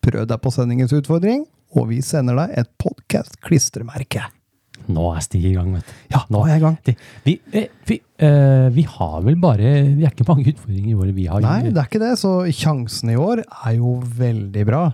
prøv deg på sendingens utfordring, og vi sender deg et podkast-klistremerke.
Nå er Stig i gang, vet du.
Ja, nå er jeg i gang.
Det, vi, eh, vi, eh, vi har vel bare Vi er ikke mange utfordringer i året vi har.
Nei, det er ikke det, så sjansen i år er jo veldig bra.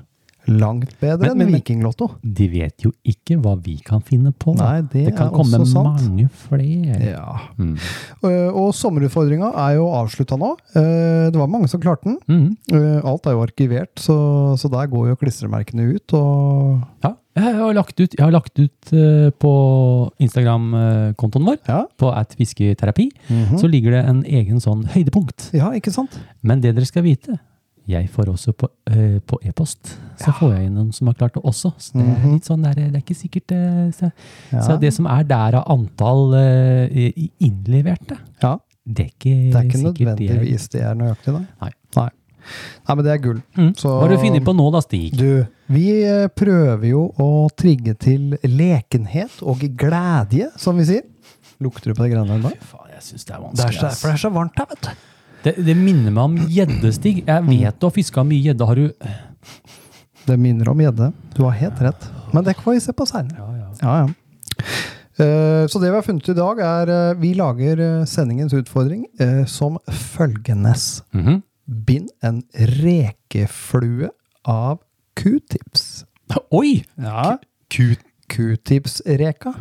Langt bedre
Men- men-
enn
men-
Vikinglotto.
De vet jo ikke hva vi kan finne på.
Nei, det
kan
er
komme
også sant.
mange flere.
Ja.
Mm.
Eh, Og sommerutfordringa er jo avslutta nå. Eh, Det var mange som klarte den.
Mm.
Eh, Alt er jo arkivert, så, så der går jo klistremerkene ut. Og
Ja. Jeg har lagt ut, jeg har lagt ut eh, på Instagram-kontoen vår,
Ja.
på at whiskeyterapi,
Mhm.
så ligger det en egen sånn høydepunkt.
ja, ikke sant?
Men det dere skal vite, jeg får også på eh, på e-post, så får jeg inn noen som har klart det også. Så det
Mhm.
er litt sånn der, det er ikke sikkert eh, så, så det som er der av antall eh, i- innleverte,
Ja.
det er ikke,
Det er ikke
sikkert det er-
nødvendigvis det er nøyaktig, da.
Nei.
Nei. Nei, men det er gull.
Mm.
Så-
Hva har du funnet på nå da, Stig?
Du, vi eh, prøver jo å trigge til lekenhet og glede, som vi sier. Lukter du på det greiene der?
Faen, jeg synes det er
Det er,
vanskelig.
så,
ass.
for det er så varmt her, vet du.
Det, det minner meg om gjeddestig.
Mm.
Jeg vet du har fiska mye gjedde. Har du
Det minner om gjedde. Du har helt rett. Men det får vi se på seinere. Ja, ja. Eh, Så det vi har funnet ut i dag, er eh, Vi lager eh, sendingens utfordring eh, som følgendes.
Mhm.
Bind en rekeflue av q-tips.
Oi!
Ja. Q-tips-reka.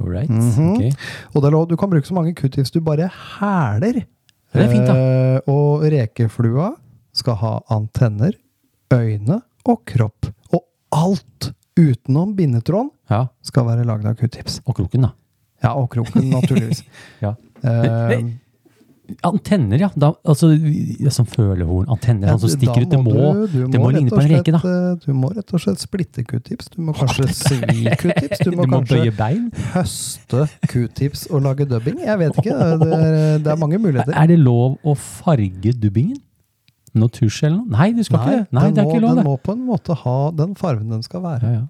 All right.
Mhm.
ok.
Og det er lov, du kan bruke så mange q-tips du bare hæler.
Det er fint, da.
Eh, Og rekeflua skal ha antenner, øyne og kropp. Og alt utenom bindetråden
Ja.
skal være lagd av q-tips.
Og kroken, da.
Ja, og kroken, naturligvis.
Ja.
Eh,
Antenner, ja. Da, altså, ja, som følehorn. Antenner
ja,
sånn som
du-
stikker
da
ut. Det må,
du- du
det må
rett
ligne på
og
en reke, da.
slett, eh, Du må rett og slett splitte q-tips. Du må kanskje svi q-tips. Du må kanskje
bøye bein.
høste q-tips og lage dubbing. Jeg vet ikke. Det er, det er mange muligheter.
Er det lov å farge dubbingen? Noe tusj eller noe? Nei, du skal ikke det. Nei,
den,
det er
må,
ikke lov,
den
det.
må på en måte ha den farven den skal være.
Ja, ja.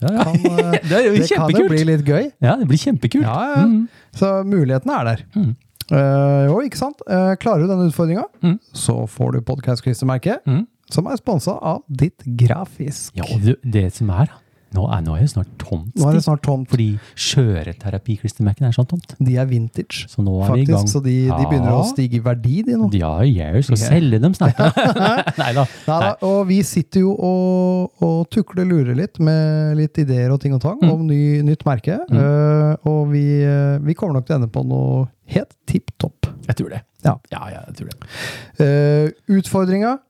Ja, ja.
Kan, eh,
Det er jo
det kan jo
kjempekult!
bli litt gøy.
ja, det blir kjempekult.
Ja, ja.
Mm.
Så mulighetene er der.
Mm.
Eh, jo, ikke sant? Eh, klarer du denne utfordringa,
Mm.
så får du podkast-klistremerket,
Mm.
som er sponsa av Ditt Grafisk.
ja og det, det som er, da. Nå er, nå er jeg snart tomt.
Nå er det
Stig.
snart tomt.
Fordi skjøreterapiklistremerkene er sånn tomt.
De er vintage,
Så nå er vi i
faktisk.
gang.
Så de, de begynner
Ja.
å stige i verdi, de nå.
Ja, jeg skal selge dem snart. Nei da.
Neida, og vi sitter jo og, og tukler lurer litt med litt ideer og ting og
Mm.
tang om ny, nytt merke. Eh, og vi, eh, vi kommer nok til å ende på noe helt tipp topp.
Jeg tror det.
Ja.
ja, ja, jeg tror det.
Eh, utfordringa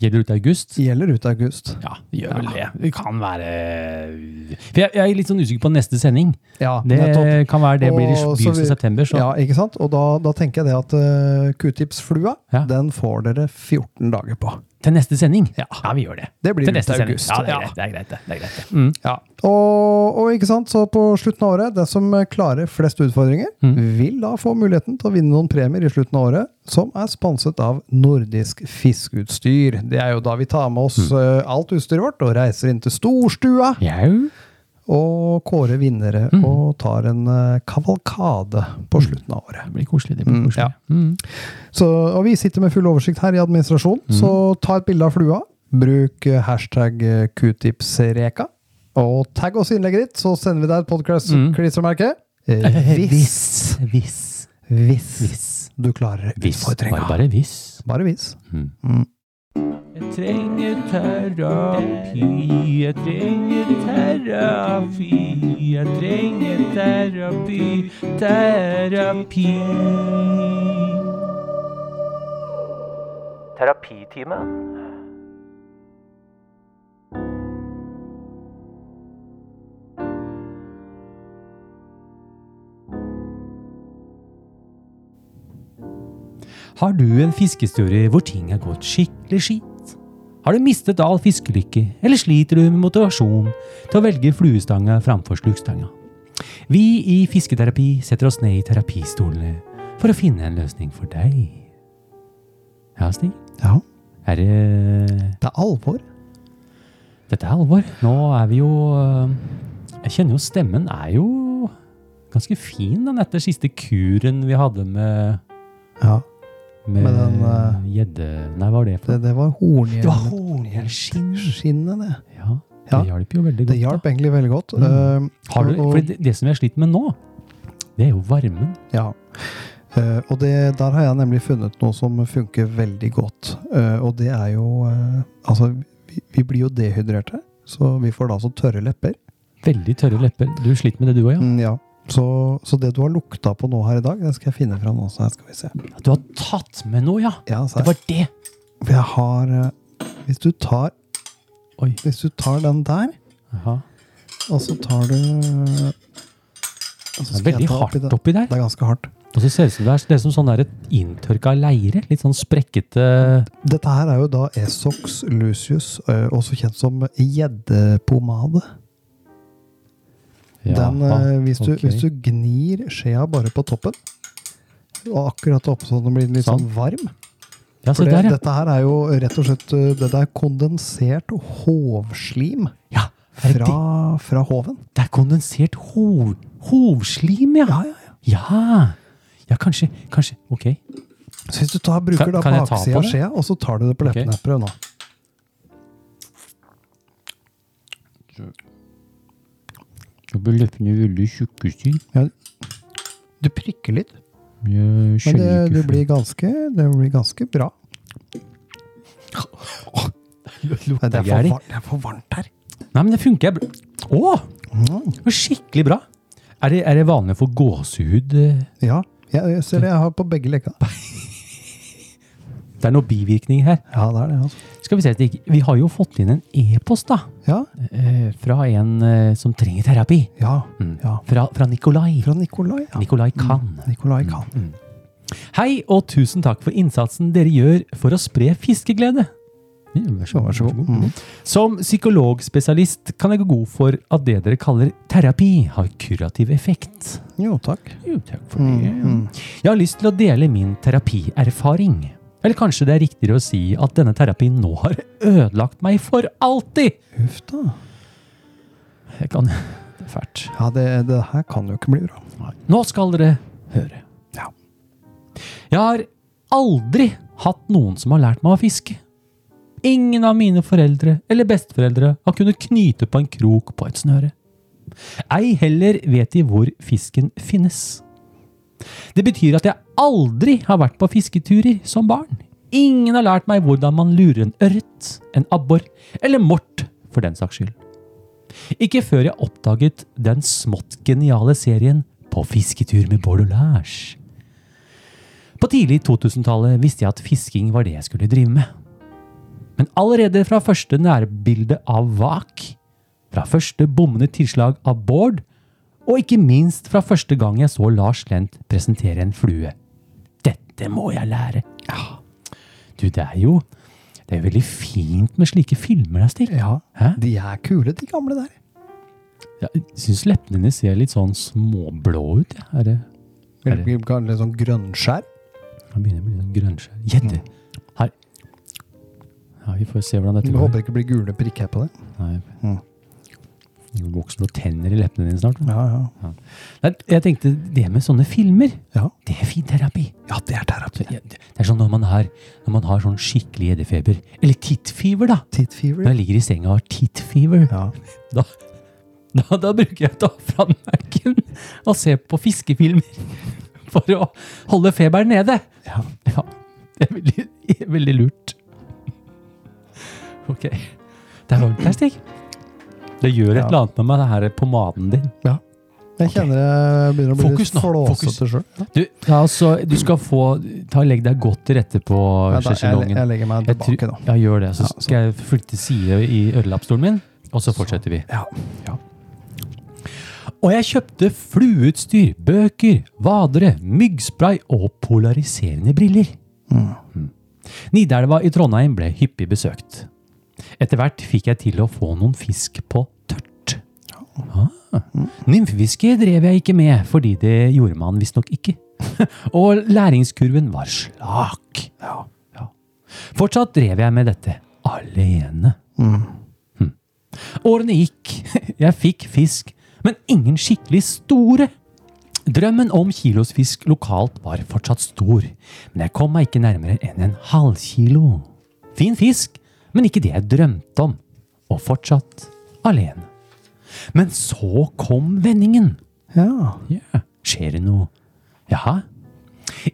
Gjelder ut august?
gjelder ut august.
Ja, det gjør vel det. Det kan være øh, For jeg, jeg er litt sånn usikker på neste sending.
Ja,
Det
nettopp.
kan være det blir i
Og så
begynnelsen av
vi-
september. Så.
Ja, ikke sant? Og da, da tenker jeg det at eh, Q-tips-flua,
Ja.
den får dere 14 dager på.
Til neste sending? Ja. vi gjør det.
Det blir
Til
ut
neste sending.
august.
Ja, det
Ja.
er greit. Det er greit, det. det, er greit, det.
Ja. Og, og ikke sant, så på slutten av året, den som klarer flest utfordringer, vil da få muligheten til å vinne noen premier i slutten av året, som er sponset av Nordisk Fiskeutstyr. Det er jo da vi tar med oss eh, alt utstyret vårt og reiser inn til storstua
Jau.
og kårer vinnere og tar en eh, kavalkade på slutten av året.
Det blir koselig. Det blir
Mm,
koselig.
ja. Så, og vi sitter med full oversikt her i administrasjonen,
Mhm.
så ta et bilde av flua. Bruk eh, hashtag eh, qtipsreka, og tagg oss i innlegget ditt, så sender vi deg et
Mhm.
podkast-klistremerke.
Eh,
Hvis,
Hvis. Hvis.
hvis
Hvis.
du klarer
Hvis. Bare,
utfordringa.
bare hvis.
Bare hvis.
Jeg trenger terapi, jeg trenger terapi, jeg trenger terapi, terapi.
Terapitime.
Har du en fiskehistorie hvor ting har gått skikkelig skit? Har du mistet all fiskelykke, eller sliter du med motivasjon til å velge fluestanga framfor slukstanga? Vi i Fisketerapi setter oss ned i terapistolene for å finne en løsning for deg. Ja, Stig?
Ja,
Er det
det er alvor.
Dette er alvor. Nå er vi jo øh, Jeg kjenner jo stemmen er jo ganske fin den etter siste kuren vi hadde med
Ja,
Med
Med den, øh,
gjedde... Nei, hva var det for
det,
noe? Det
det var
var
hornhjelmen.
horngjellskinn.
Skinnet, det.
Ja, det
Ja.
hjalp jo veldig godt.
Det hjalp egentlig veldig godt.
Mm.
Eh,
da. Har du,
og-
for det, det som jeg sliter med nå, det er jo varmen.
Ja. Eh, og det, der har jeg nemlig funnet noe som funker veldig godt. Eh, og det er jo eh, Altså, vi, vi blir jo dehydrerte, så vi får da så tørre lepper.
Veldig tørre lepper. Du sliter med det, du òg, ja?
Mm, ja. Så, så det du har lukta på nå her i dag, det skal jeg finne fram nå. Så her skal vi se.
Du har tatt med noe, ja!
Ja, så
Det
her.
var det!
For jeg har eh, Hvis du tar
Oi.
Hvis du tar den der,
Aha.
og så tar du og
Det er
så skal jeg
veldig
ta oppi
hardt
det.
oppi der.
Det er ganske hardt.
Og så ser det ut som det er, det er som sånn der et inntørka leire. Litt sånn sprekkete
Dette her er jo da Esox lucius, eh, også kjent som gjeddepomade. Den, eh, hvis, du,
ok.
hvis du gnir skjea bare på toppen, og akkurat oppe sånn den blir litt sånn varm
Ja,
For
se
det,
der, ja.
dette her er jo rett og slett eh, det der kondensert hovslim
ja. er det
fra, fra hoven.
Det er kondensert hov, hovslim, ja. Ja, ja, ja. kanskje, kanskje. Ok.
Så hvis du tar, bruker
Kan-
da
kan jeg ta
baksida
på
av
det?
skjea, og så tar du det på
Ok.
leppene. Prøv nå.
Da blir leppene veldig tjukke, Stig.
Du prikker litt,
Jeg
men eh, det,
skjønner
du
ikke
blir ganske, det blir ganske bra. Nei, det, er for
gærlig.
varmt, det er for varmt her.
Nei, men det funker. Jeg bl- Å,
Mm.
det var skikkelig bra. Er det, er det vanlig for gåsehud? eh?
Ja, jeg, jeg ser det. Jeg har på begge lekka.
Det er noe bivirkning her.
Ja, det er det. altså.
Skal vi se, Stig. Vi har jo fått inn en e-post da,
Ja,
eh, fra en eh, som trenger terapi.
ja,
Mm.
ja.
Fra, fra Nikolai.
Fra Mm. Nikolai. Ja.
Nikolai Kahn.
Nikolai Kahn.
Mm. Hei, og tusen takk for innsatsen dere gjør for å spre fiskeglede. Vær
Ja, vær så god. Mm.
Som psykologspesialist kan jeg gå god for at det dere kaller terapi, har kurativ effekt.
Jo, takk.
Jo, takk for det. Jeg har lyst til å dele min terapierfaring. Eller kanskje det er riktigere å si at denne terapien nå har ødelagt meg for alltid!
Huff da.
Jeg kan... Det er fælt.
Ja, det, det her kan jo ikke bli bra.
Nå skal dere høre.
Ja.
Jeg har aldri hatt noen som har lært meg å fiske. Ingen av mine foreldre eller besteforeldre har kunnet knyte på en krok på et snøre. Ei heller vet de hvor fisken finnes. Det betyr at jeg aldri har vært på fisketurer som barn. Ingen har lært meg hvordan man lurer en ørret, en abbor eller mort, for den saks skyld. Ikke før jeg oppdaget den smått geniale serien På fisketur med Bård og Lars. På tidlig 2000-tallet visste jeg at fisking var det jeg skulle drive med. Men allerede fra første nærbilde av Vak, fra første bommende tilslag av Bård, og ikke minst fra første gang jeg så Lars Lent presentere en flue. Dette må jeg lære! Ja. Du, det er jo Det er jo veldig fint med slike filmer, da, Stig.
Ja,
Hæ?
De er kule, de gamle der.
Jeg syns leppene dine ser litt sånn småblå ut. Ja. Er det, Er det-
Litt litt sånn grønnskjær.
jeg begynner å bli litt grønnskjær. Gjedde!
Mm.
Her. Ja, vi får se hvordan dette
Jeg
går.
håper det ikke blir gule prikker på det.
Nei.
Mm.
Det vokser noen tenner i leppene dine snart.
Ja, ja.
Nei, jeg tenkte det med sånne filmer,
Ja.
det er fin terapi.
Ja, det er terapi.
Det er sånn når man har, når man har sånn skikkelig gjeddefeber. Eller tittfever, da.
Tit fever.
Når jeg ligger i senga og har tittfever,
Ja.
da, da, da bruker jeg å ta fram Mac-en og se på fiskefilmer for å holde feberen nede. Ja. det er veldig, veldig lurt. Ok. Det er varmt her, Stig. Det gjør et
Ja.
eller annet med meg, det her pomaden din.
Jeg kjenner jeg begynner å bli
Fokus
litt
nå, fokus.
flåsete sjøl. Ja.
Du, altså, du skal få ta og Legg deg godt til rette på
Ja, da- jeg,
sjeselongen.
jeg legger meg
tror-
tilbake, da.
Ja, gjør det. Så
Ja, så-
skal jeg flytte side i ørelappstolen min, og så fortsetter vi.
Ja. Ja.
Og jeg kjøpte flueutstyr, bøker, vadere, myggspray og polariserende briller. Mm. Nidelva i Trondheim ble hyppig besøkt. Etter hvert fikk jeg til å få noen fisk på tørt. Ah. Nymfefiske drev jeg ikke med, fordi det gjorde man visstnok ikke. og læringskurven var slak. Ja. Fortsatt drev jeg med dette alene. Hm. Årene gikk, jeg fikk fisk, men ingen skikkelig store. Drømmen om kilosfisk lokalt var fortsatt stor, men jeg kom meg ikke nærmere enn en halvkilo. Fin fisk, men ikke det jeg drømte om, og fortsatt alene. Men så kom vendingen.
Ja.
Ja, skjer det noe? Jaha.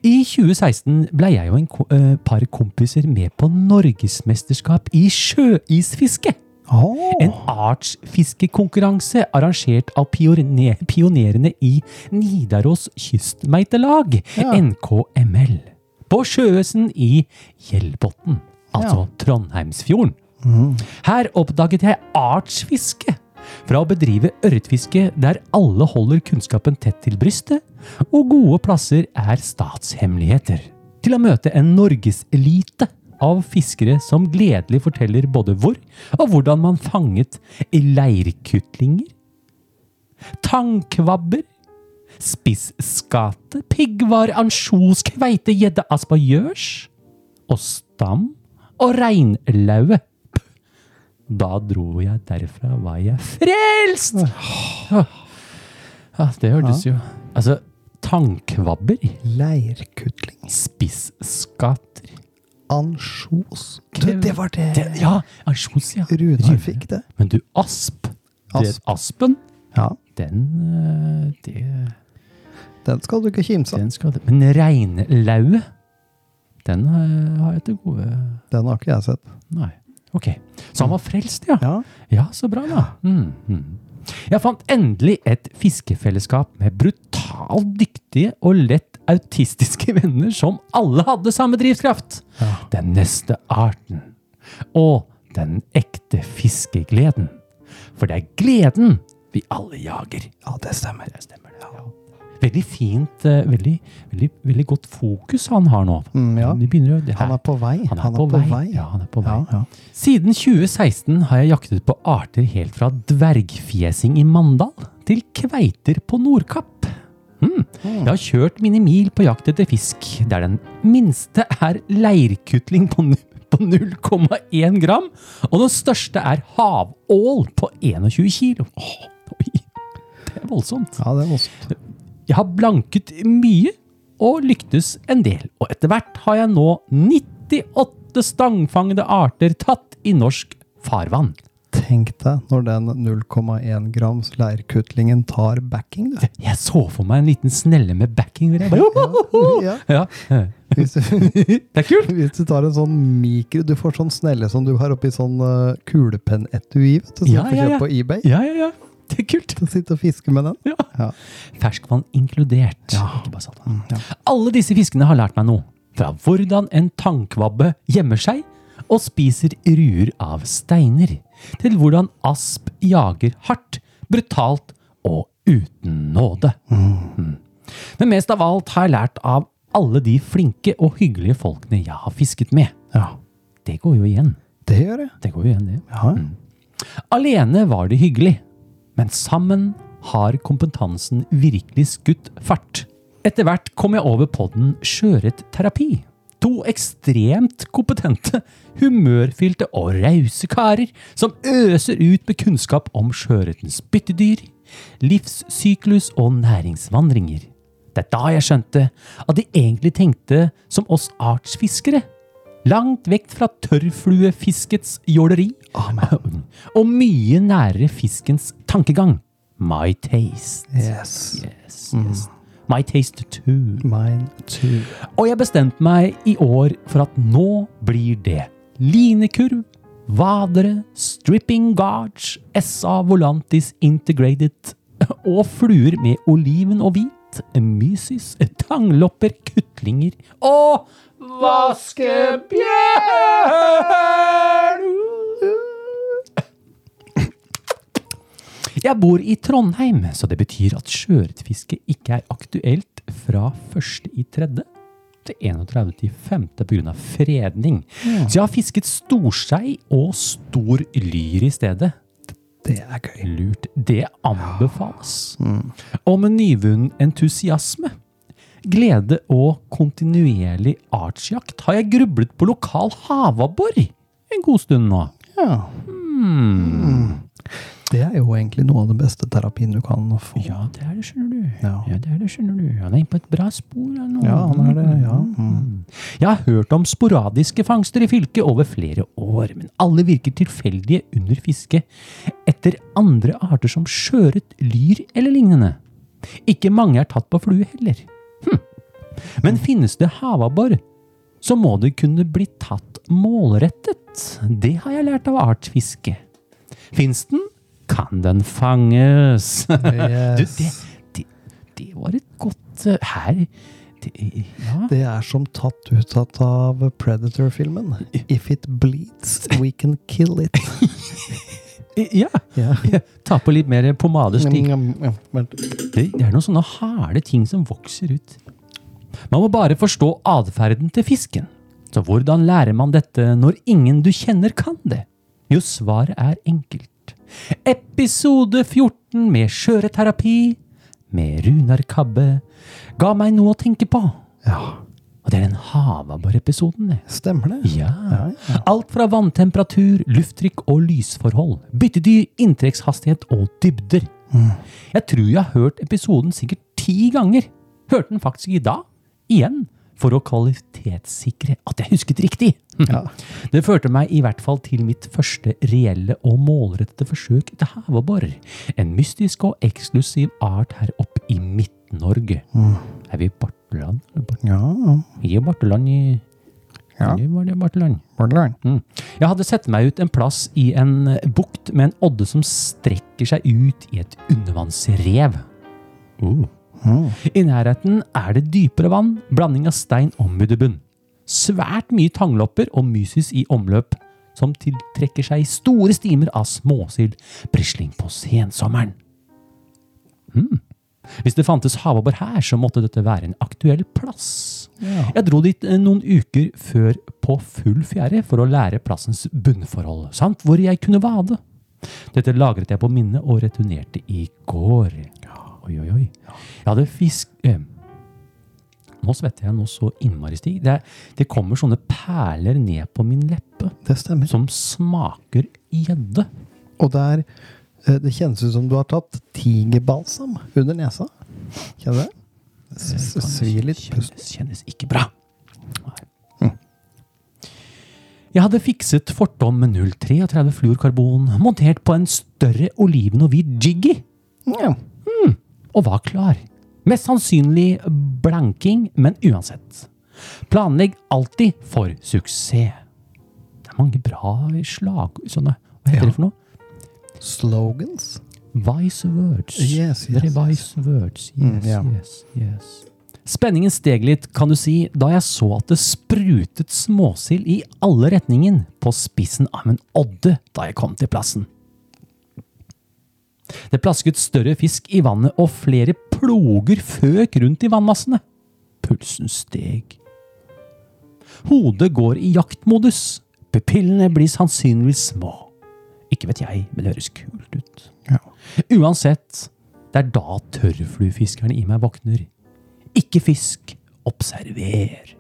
I 2016 ble jeg og en ko eh, par kompiser med på norgesmesterskap i sjøisfiske. En artsfiskekonkurranse arrangert av pione- pionerene i Nidaros kystmeitelag,
Ja.
NKML, på Sjøøsen i Gjellbotn, altså Trondheimsfjorden. Her oppdaget jeg artsfiske. Fra å bedrive ørretfiske der alle holder kunnskapen tett til brystet, og gode plasser er statshemmeligheter, til å møte en norgeselite av fiskere som gledelig forteller både hvor og hvordan man fanget leirkutlinger, tangkvabber, spisskate, piggvar, ansjos, kveite, gjedde, aspergjørs og stam og reinlaue. Da dro jeg derfra, var jeg frelst! Ja, det hørtes jo Altså, tannkvabber,
Leirkutling.
spisskater
Ansjos. Du, det var det,
det, Ja, ansjos, ja.
Runar fikk, det.
Men du, asp. Det,
Asp.
aspen,
Ja,
den øh, det,
Den skal du ikke kimse av.
Den skal du Men reinlaue, den øh, har jeg til gode
Den har ikke jeg sett.
Nei. Ok. Så han var frelst, ja.
Ja.
Ja, så bra, da. Mm, mm. Jeg fant endelig et fiskefellesskap med brutalt dyktige og lett autistiske venner som alle hadde samme drivkraft. Den neste arten. Og den ekte fiskegleden. For det er gleden vi alle jager. Ja, det stemmer. Det stemmer det, ja. Veldig fint, eh, veldig, veldig, veldig godt fokus han har nå.
Mm, ja.
De begynner, å- det her,
Han er på vei.
han er, på, vei. Ja, han er på vei.
Ja, ja.
Siden 2016 har jeg jaktet på arter helt fra dvergfjesing i Mandal til kveiter på Nordkapp. Hmm. Jeg har kjørt mine mil på jakt etter fisk, der den minste er leirkutling på, nu- på 0,1 gram, og den største er havål på 21 kilo. Åh, oi, det er voldsomt.
Ja, det er også.
Jeg har blanket mye og lyktes en del, og etter hvert har jeg nå 98 stangfangede arter tatt i norsk farvann.
Tenk deg når den 0,1 grams leirkutlingen tar backing, du.
Jeg så for meg en liten snelle med backing. hvor jeg bare-
Ja.
Ja.
Hvis du,
Det er kult!
hvis du tar en sånn mikro Du får sånn snelle som du har oppi sånn uh, kulepennetui, vet du, som
Ja,
du får
ja,
kjøpe
ja.
på eBay.
Ja, ja, ja. Det er kult.
Til å sitte og fiske med den.
Ja.
Ja.
Ferskvann inkludert. Ikke bare saltvann. Alle disse fiskene har lært meg noe. Fra hvordan en tannkvabbe gjemmer seg og spiser ruer av steiner, til hvordan asp jager hardt, brutalt og uten nåde. Mm. Men mest av alt har jeg lært av alle de flinke og hyggelige folkene jeg har fisket med. Det går jo igjen.
Det gjør jeg.
Det går jo igjen, det. Mm.
Ja.
Alene var det hyggelig, men sammen har kompetansen virkelig skutt fart. Etter hvert kom jeg over podden Sjøørretterapi. To ekstremt kompetente, humørfylte og rause karer som øser ut med kunnskap om sjøørretens byttedyr, livssyklus og næringsvandringer. Det er da jeg skjønte at de egentlig tenkte som oss artsfiskere. Langt vekk fra tørrfluefiskets jåleri og mye nærere fiskens tankegang. My taste.
Yes.
Yes, yes. My taste too.
Mine too.
Og jeg bestemte meg i år for at nå blir det linekurv, vadere, stripping gauge, SA volantis integrated og fluer med oliven og hvit, mysis, tanglopper, kutlinger og vaskebjørn! Jeg bor i Trondheim, så det betyr at sjøørretfiske ikke er aktuelt fra 1. i tredje til 31. i femte på grunn av fredning. Så jeg har fisket storskei og stor lyr i stedet.
Det er gøy. Mm.
Lurt. Det anbefales. Og med nyvunnen entusiasme, glede og kontinuerlig artsjakt har jeg grublet på lokal havabbor en god stund nå.
Ja. Hmm. Det er jo egentlig noe av den beste terapien du kan få.
Ja, det er det, skjønner du.
Ja.
Ja, det er det, skjønner du. Han er inne på et bra spor. han nå.
Ja, han er det. Ja. Mm.
Jeg har hørt om sporadiske fangster i fylket over flere år, men alle virker tilfeldige under fiske etter andre arter som sjøørret, lyr eller lignende. Ikke mange er tatt på flue heller. Hm. Men finnes det havabbor, så må det kunne bli tatt målrettet. Det har jeg lært av artsfiske. Fins den, kan den fanges. Du,
Yes.
det, det, det var et godt eh, Her det, Ja.
Det er som tatt ut av Predator-filmen. If it bleeds, we can kill it.
ja.
Ja.
Ta på litt mer pomadesting.
Men-
Det, det er noen sånne harde ting som vokser ut. Man må bare forstå atferden til fisken. Så hvordan lærer man dette når ingen du kjenner kan det? Jo, svaret er enkelt. Episode 14 med skjøreterapi med Runar Kabbe ga meg noe å tenke på.
Ja,
Og det er den havabborepisoden, det.
stemmer det?
Ja. Alt fra vanntemperatur, lufttrykk og lysforhold, byttedyr, inntrekkshastighet og dybder. Jeg tror jeg har hørt episoden sikkert ti ganger. Hørte den faktisk i dag. Igjen. For å kvalitetssikre at jeg husket riktig. Det førte meg i hvert fall til mitt første reelle og målrettede forsøk etter havabbor. En mystisk og eksklusiv art her oppe i Midt-Norge. Er vi i Barteland?
Ja.
Vi er i Barteland i
Ja.
Eller var det Barteland?
Borderline.
Mm. Jeg hadde sett meg ut en plass i en eh, bukt med en odde som strekker seg ut i et undervannsrev. I nærheten er det dypere vann, blanding av stein og mudderbunn. Svært mye tanglopper og mysis i omløp, som tiltrekker seg store stimer av småsild, brisling på sensommeren. Hvis det fantes havabbor her, så måtte dette være en aktuell plass. Jeg dro dit eh, noen uker før på full fjære for å lære plassens bunnforhold, samt hvor jeg kunne vade. Dette lagret jeg på minnet og returnerte i går. Oi, oi, oi. Jeg hadde fisk... eh, Nå svetter jeg noe så innmari stig. Det, er- det kommer sånne perler ned på min leppe
Det stemmer.
som smaker gjedde.
Og det er eh, Det kjennes ut som du har tatt tigerbalsam under nesa. Kjenner du det? S- s- Svir litt. Pust.
Kjennes, kjennes ikke bra. Nei. Jeg hadde fikset fortom med 0,33 fluorkarbon, montert på en større oliven og hvit jiggy, Hm.
Ja.
og var klar. Mest sannsynlig blanking, men uansett. Planlegg alltid for suksess. Det er mange bra slag... Sånne. Hva heter det for noe?
Slogans.
Vice words.
Yes, yes, Mm,
Very vice words. Yes,
ja.
yes, yes. Spenningen steg litt, kan du si, da jeg så at det sprutet småsild i alle retningen på spissen av en odde da jeg kom til plassen. Det plasket større fisk i vannet, og flere ploger føk rundt i vannmassene. Pulsen steg. Hodet går i jaktmodus. Pupillene blir sannsynligvis små. Ikke vet jeg, men det høres kult ut. Uansett, det er da tørrfluefiskeren i meg våkner. Ikke fisk, observer.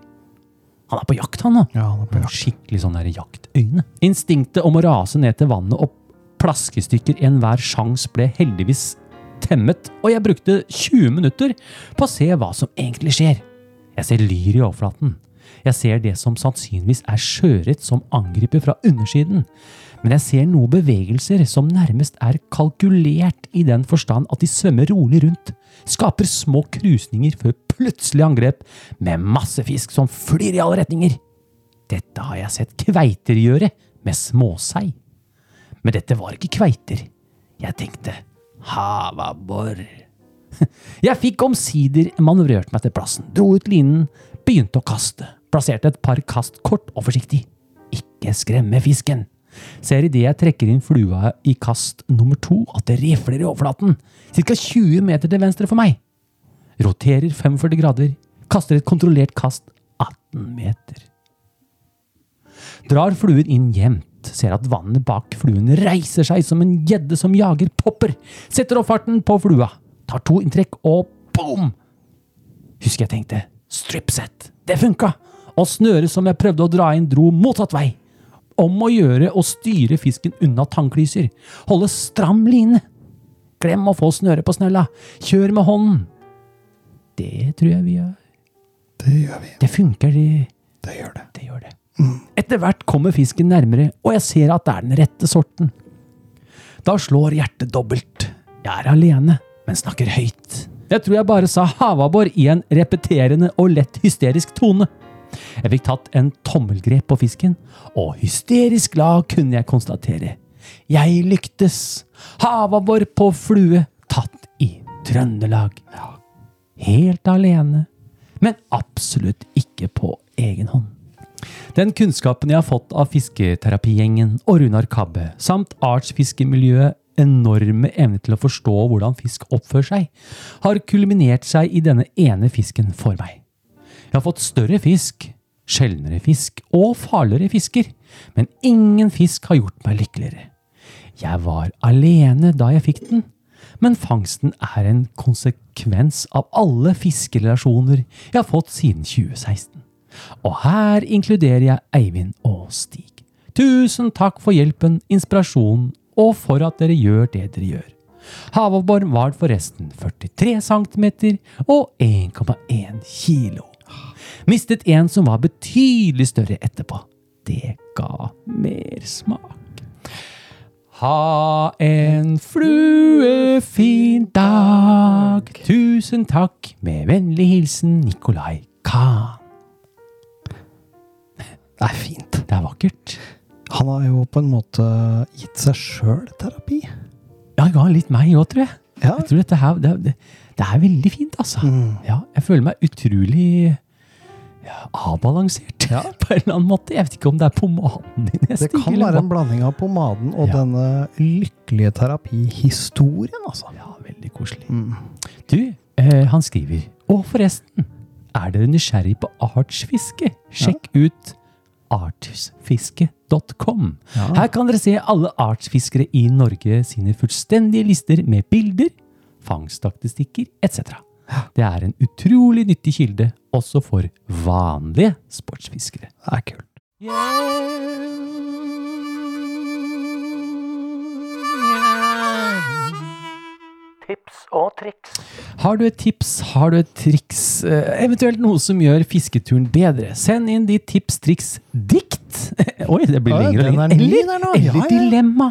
Han er på jakt, han da.
Ja, det er bra.
Skikkelig sånn der jaktøyne. Instinktet om å rase ned til vannet og plaskestykker i enhver sjans ble heldigvis temmet, og jeg brukte 20 minutter på å se hva som egentlig skjer. Jeg ser lyr i overflaten. Jeg ser det som sannsynligvis er sjøørret som angriper fra undersiden. Men jeg ser noen bevegelser som nærmest er kalkulert i den forstand at de svømmer rolig rundt, skaper små krusninger før plutselig angrep med masse fisk som flyr i alle retninger. Dette har jeg sett kveiter gjøre med småsei. Men dette var ikke kveiter. Jeg tenkte havabbor. Jeg fikk omsider manøvrert meg til plassen, dro ut linen, begynte å kaste. Plasserte et par kast kort og forsiktig. Ikke skremme fisken. Ser idet jeg trekker inn flua i kast nummer to at det rifler i overflaten, ca. 20 meter til venstre for meg. Roterer 45 grader, kaster et kontrollert kast 18 meter. Drar fluen inn jevnt. Ser at vannet bak fluen reiser seg som en gjedde som jager popper. Setter opp farten på flua. Tar to inntrekk, og boom! Husker jeg tenkte stripset. Det funka! Og snøret som jeg prøvde å dra inn, dro motsatt vei. Om å gjøre å styre fisken unna tannklyser. Holde stram line. Glem å få snøret på snella. Kjør med hånden. Det tror jeg vi gjør.
Det gjør vi.
Det funker, det.
Det gjør det.
Det gjør det. Etter hvert kommer fisken nærmere, og jeg ser at det er den rette sorten. Da slår hjertet dobbelt. Jeg er alene, men snakker høyt. Jeg tror jeg bare sa havabbor i en repeterende og lett hysterisk tone. Jeg fikk tatt en tommelgrep på fisken, og hysterisk glad kunne jeg konstatere. Jeg lyktes! Havabbor på flue, tatt i Trøndelag. Helt alene, men absolutt ikke på egen hånd. Den kunnskapen jeg har fått av fisketerapigjengen og Runar Kabbe, samt artsfiskemiljøet enorme evne til å forstå hvordan fisk oppfører seg, har kulminert seg i denne ene fisken for meg. Jeg har fått større fisk, sjeldnere fisk og farligere fisker, men ingen fisk har gjort meg lykkeligere. Jeg var alene da jeg fikk den, men fangsten er en konsekvens av alle fiskerelasjoner jeg har fått siden 2016. Og her inkluderer jeg Eivind og Stig. Tusen takk for hjelpen, inspirasjonen og for at dere gjør det dere gjør. Havabbor var forresten 43 cm og 1,1 kilo. Mistet en som var betydelig større etterpå. Det ga mersmak. Ha en fluefin dag. Tusen takk. Med vennlig hilsen Nikolai Kahn.
Det er fint.
Det er vakkert.
Han har jo på en måte gitt seg sjøl terapi.
Ja, jeg har litt meg òg, tror jeg.
Ja. Mm.
Jeg tror dette her, det, er- det, det er veldig fint, altså. Ja, jeg føler meg utrolig ja, avbalansert på en eller annen måte. Jeg vet ikke om det er pomaden din. jeg
Det
stikker,
kan
eller
være en
hva.
blanding av pomaden og
Ja.
denne lykkelige terapihistorien, altså.
Ja, veldig koselig. Du, eh, han skriver Og forresten, er dere nysgjerrig på artsfiske? Sjekk ut artsfiske.com. Her kan dere se alle artsfiskere i Norge sine fullstendige lister med bilder, fangststatistikker etc. Det er en utrolig nyttig kilde også for vanlige sportsfiskere.
Det er kult.
Tips og triks.
Har du et tips, har du et triks, eh, eventuelt noe som gjør fisketuren bedre, send inn ditt tips, triks, dikt. Oi, det blir
Ja,
lengre og
den er
lengre.
ny
Eller,
der nå.
eller
Ja, ja, ja.
dilemma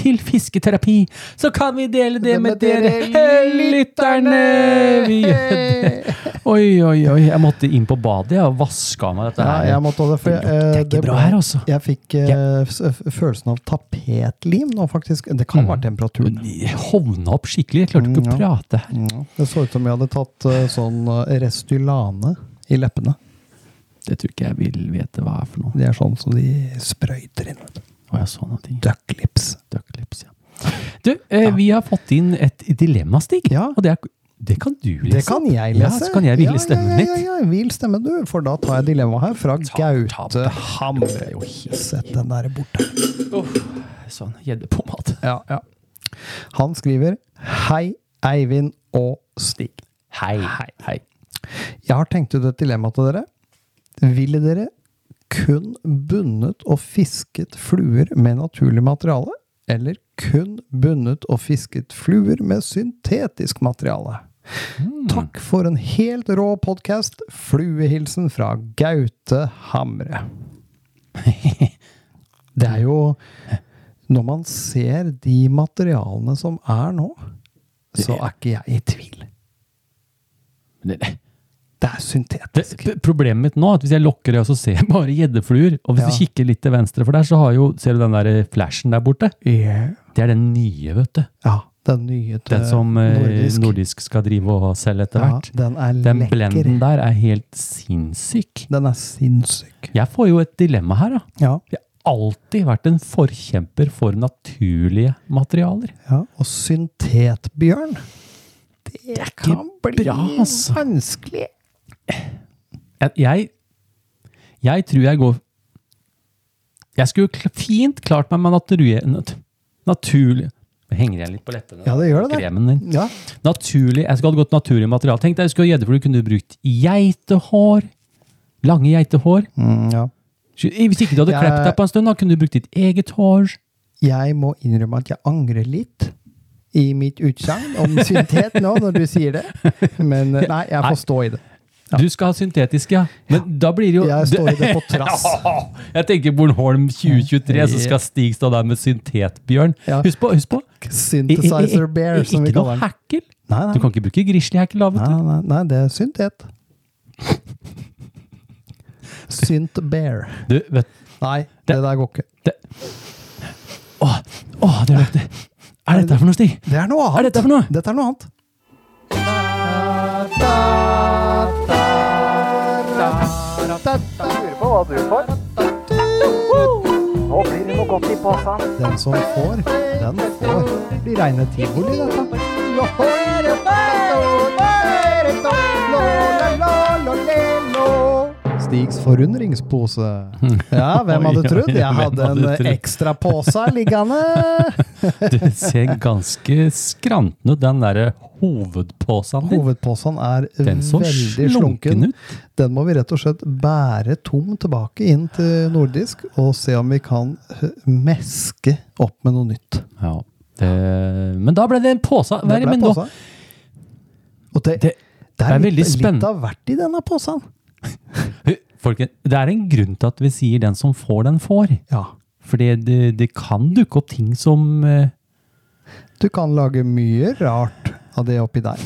til fisketerapi. Så kan vi dele det, med dere, lytterne! Vi gjør det. Oi, oi, oi. Jeg måtte inn på badet og vaske av meg dette
Ja,
her.
jeg måtte det, for jeg,
det lukter
eh,
ikke bra her, altså.
Jeg fikk eh, s- f- følelsen av tapetlim nå, faktisk. Det
Mm.
kan være temperaturen.
Jeg hovna opp skikkelig. Jeg klarte ikke å
Mm, ja.
prate her.
Ja. Det så ut som jeg hadde tatt eh, sånn eh, Restylane i leppene.
Det tror ikke jeg vil vite hva er for noe.
Det er sånn som de sprøyter inn.
Å, jeg så noen ting.
Ducklips.
Ducklips, ja. Du, eh, vi har fått inn et dilemma, Stig.
Ja.
Og det, er, det kan du lese.
Det kan jeg
Ja,
lese.
så kan jeg hvile stemmen
Ja,
litt.
ja, ja, hvil stemme du, for da tar jeg dilemmaet her fra
ta-
Gaute
ta-
Hamre. Sett den der borte.
Sånn, gjeddepomade.
Ja, ja. Han skriver Hei, Eivind og Stig.
Hei. Hei. Hei.
Jeg har tenkt ut et dilemma til dere. Ville dere kun bundet og fisket fluer med naturlig materiale? Eller kun bundet og fisket fluer med syntetisk materiale?
Hmm.
Takk for en helt rå podkast. Fluehilsen fra Gaute Hamre. Det er jo Når man ser de materialene som er nå, så er ikke jeg i tvil.
Det, det,
Det er syntetisk.
p- problemet mitt nå er at hvis jeg lukker øya, så ser jeg bare gjeddefluer. Og hvis
Ja.
du kikker litt til venstre for der, så har jo, ser du den der eh, flashen der borte?
Yeah.
Det er den nye, vet du.
Ja, den nye til
Den som eh,
nordisk.
nordisk. skal drive og selge etter
ja,
hvert.
den er
den
lekker.
blenden der er helt sinnssyk.
Den er sinnssyk.
Jeg får jo et dilemma her, da.
Ja,
Jeg har alltid vært en forkjemper for naturlige materialer.
ja. Og syntetbjørn. Det, kan bli
bra, altså.
vanskelig.
Jeg, jeg, jeg tror jeg går Jeg skulle kl- fint klart meg med naturlige nat, Naturlig Nå henger jeg litt på leppene.
Ja, det gjør det, det.
Kremen din.
Ja,
Naturlig, Jeg skulle hatt gått naturlig materiale. Tenk deg, jeg skulle ha gjeddefugl, kunne du brukt geitehår. Lange geitehår. eh,
mm, ja.
Hvis ikke du hadde
Jeg-
klept deg på en stund, da kunne du brukt ditt eget hår.
Jeg må innrømme at jeg angrer litt i mitt utsagn om syntet nå, når du sier det. Men eh, nei, jeg
Nei.
får stå i det.
Du skal ha syntetisk, ja. Men da blir det jo
Jeg står i det på trass.
Jeg tenker Bornholm 2023, så skal Stig stå der med syntetbjørn.
Ja.
Husk på, husk på. i- i- i-
Synthesizer bear, som vi
Ikke noe
kaller den.
hackel.
Nei,
Du
nei.
kan ikke bruke grizzlyhackel da, vet
Nei,
du.
nei, nei, det er syntet. Synt bear.
du vet,
Nei, det der går ikke.
åh, åh, det lukter Er dette for noe, Stig?
Det er noe annet.
Er dette for noe?
Dette er noe annet.
Lurer på hva du får. Nå blir det noe godt i posen.
Den som får, den får. Det blir reine tivoli, dette. Stigs forundringspose. Ja, Hmm. hvem hadde trodd? Jeg hadde en ekstra pose liggende.
Det ser ganske skranten ut, den derre hovedposen din.
Hovedposen er
Den så
veldig
slunken
slunken.
ut.
Den må vi rett og slett bære tom tilbake inn til nordisk, og se om vi kan eh, meske opp med noe nytt.
Ja, det, men da ble det en pose. Hva er
Det
det
ble
med nå?
påsa. Og det,
Det-
det er,
det er veldig
litt,
spennende.
litt av hvert i denne posen.
Folken, det er en grunn til at vi sier 'den som får, den får'.
Ja.
For det, det, det kan dukke opp ting som eh,
Du kan lage mye rart av det oppi der.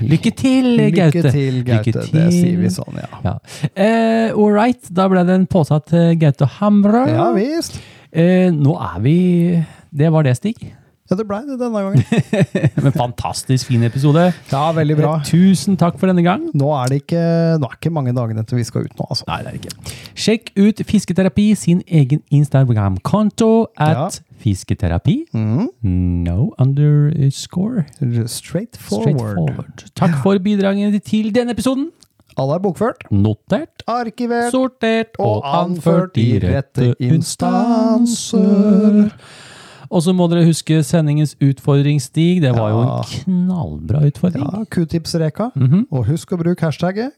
Lykke til, Gaute!
Lykke til, Gaute. Det sier vi sånn, ja.
Ja. Eh, all right, da ble det en pose til Gaute Hamre.
Ja visst.
Eh, nå er vi Det var det, Stig.
Ja, det blei det denne gangen.
Men fantastisk fin episode.
Ja, veldig bra.
Eh, Tusen takk for denne gang.
Nå er det ikke, nå er ikke mange dagene til vi skal ut nå, altså.
Nei, det er det ikke. Sjekk ut Fisketerapi sin egen Instagram-konto at fisketerapi.
Mm.
No underscore.
Straight
Straight
forward.
forward. Takk for bidragene til denne episoden.
Alle er bokført,
Notert,
arkivert
sortert og
og
anført i rette instanser.
instanser.
Og så må dere huske sendingens utfordringsstig. Det var jo
Ja.
en knallbra utfordring. Mhm.
Ja, Q-tipsreka. Og husk å bruke hashtagget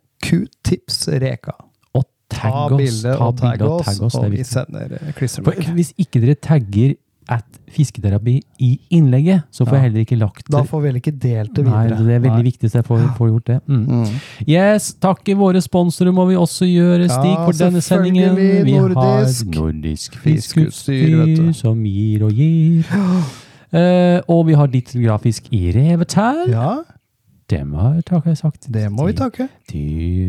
Q-tipsreka.
Og
Ta
tagg oss.
bilde og tagg oss,
det er
og vi
viktig.
sender eh,
For
klistremerke.
hvis ikke dere tagger at fisketerapi i innlegget, så får jeg heller ikke lagt
Da får vi vel ikke delt det
Nei,
videre.
det er veldig
Nei.
viktig så jeg får, får gjort det. Mm. Yes, takke våre sponsorer må vi også gjøre, Stig,
Ja,
for denne sendingen.
selvfølgelig,
Vi
nordisk.
har nordisk
Fiskeutstyr, vet
fiskeutstyr
du.
som gir og gir. Eh, og vi har ditt grafisk i revetær.
Ja,
Dem har takk, jeg sagt.
det må vi takke.
De,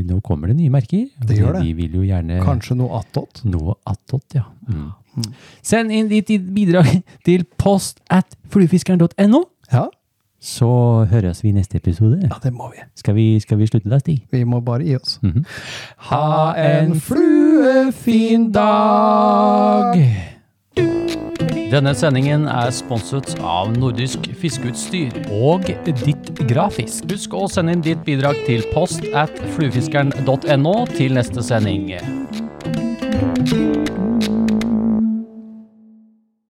nå kommer det nye merker. og
Det gjør det.
De vil jo gjerne
Kanskje noe attåt.
noe attåt, ja. Mm. Send inn ditt ditt bidrag til post at fluefiskeren.no,
Ja,
så høres vi i neste episode.
ja, det må vi.
Skal vi, skal vi slutte da, Stig?
Vi må bare gi oss.
Ha en fluefin dag!
Denne sendingen er sponset av Nordisk Fiskeutstyr.
Og ditt grafisk.
Husk å sende inn ditt bidrag til post at fluefiskeren.no til neste sending.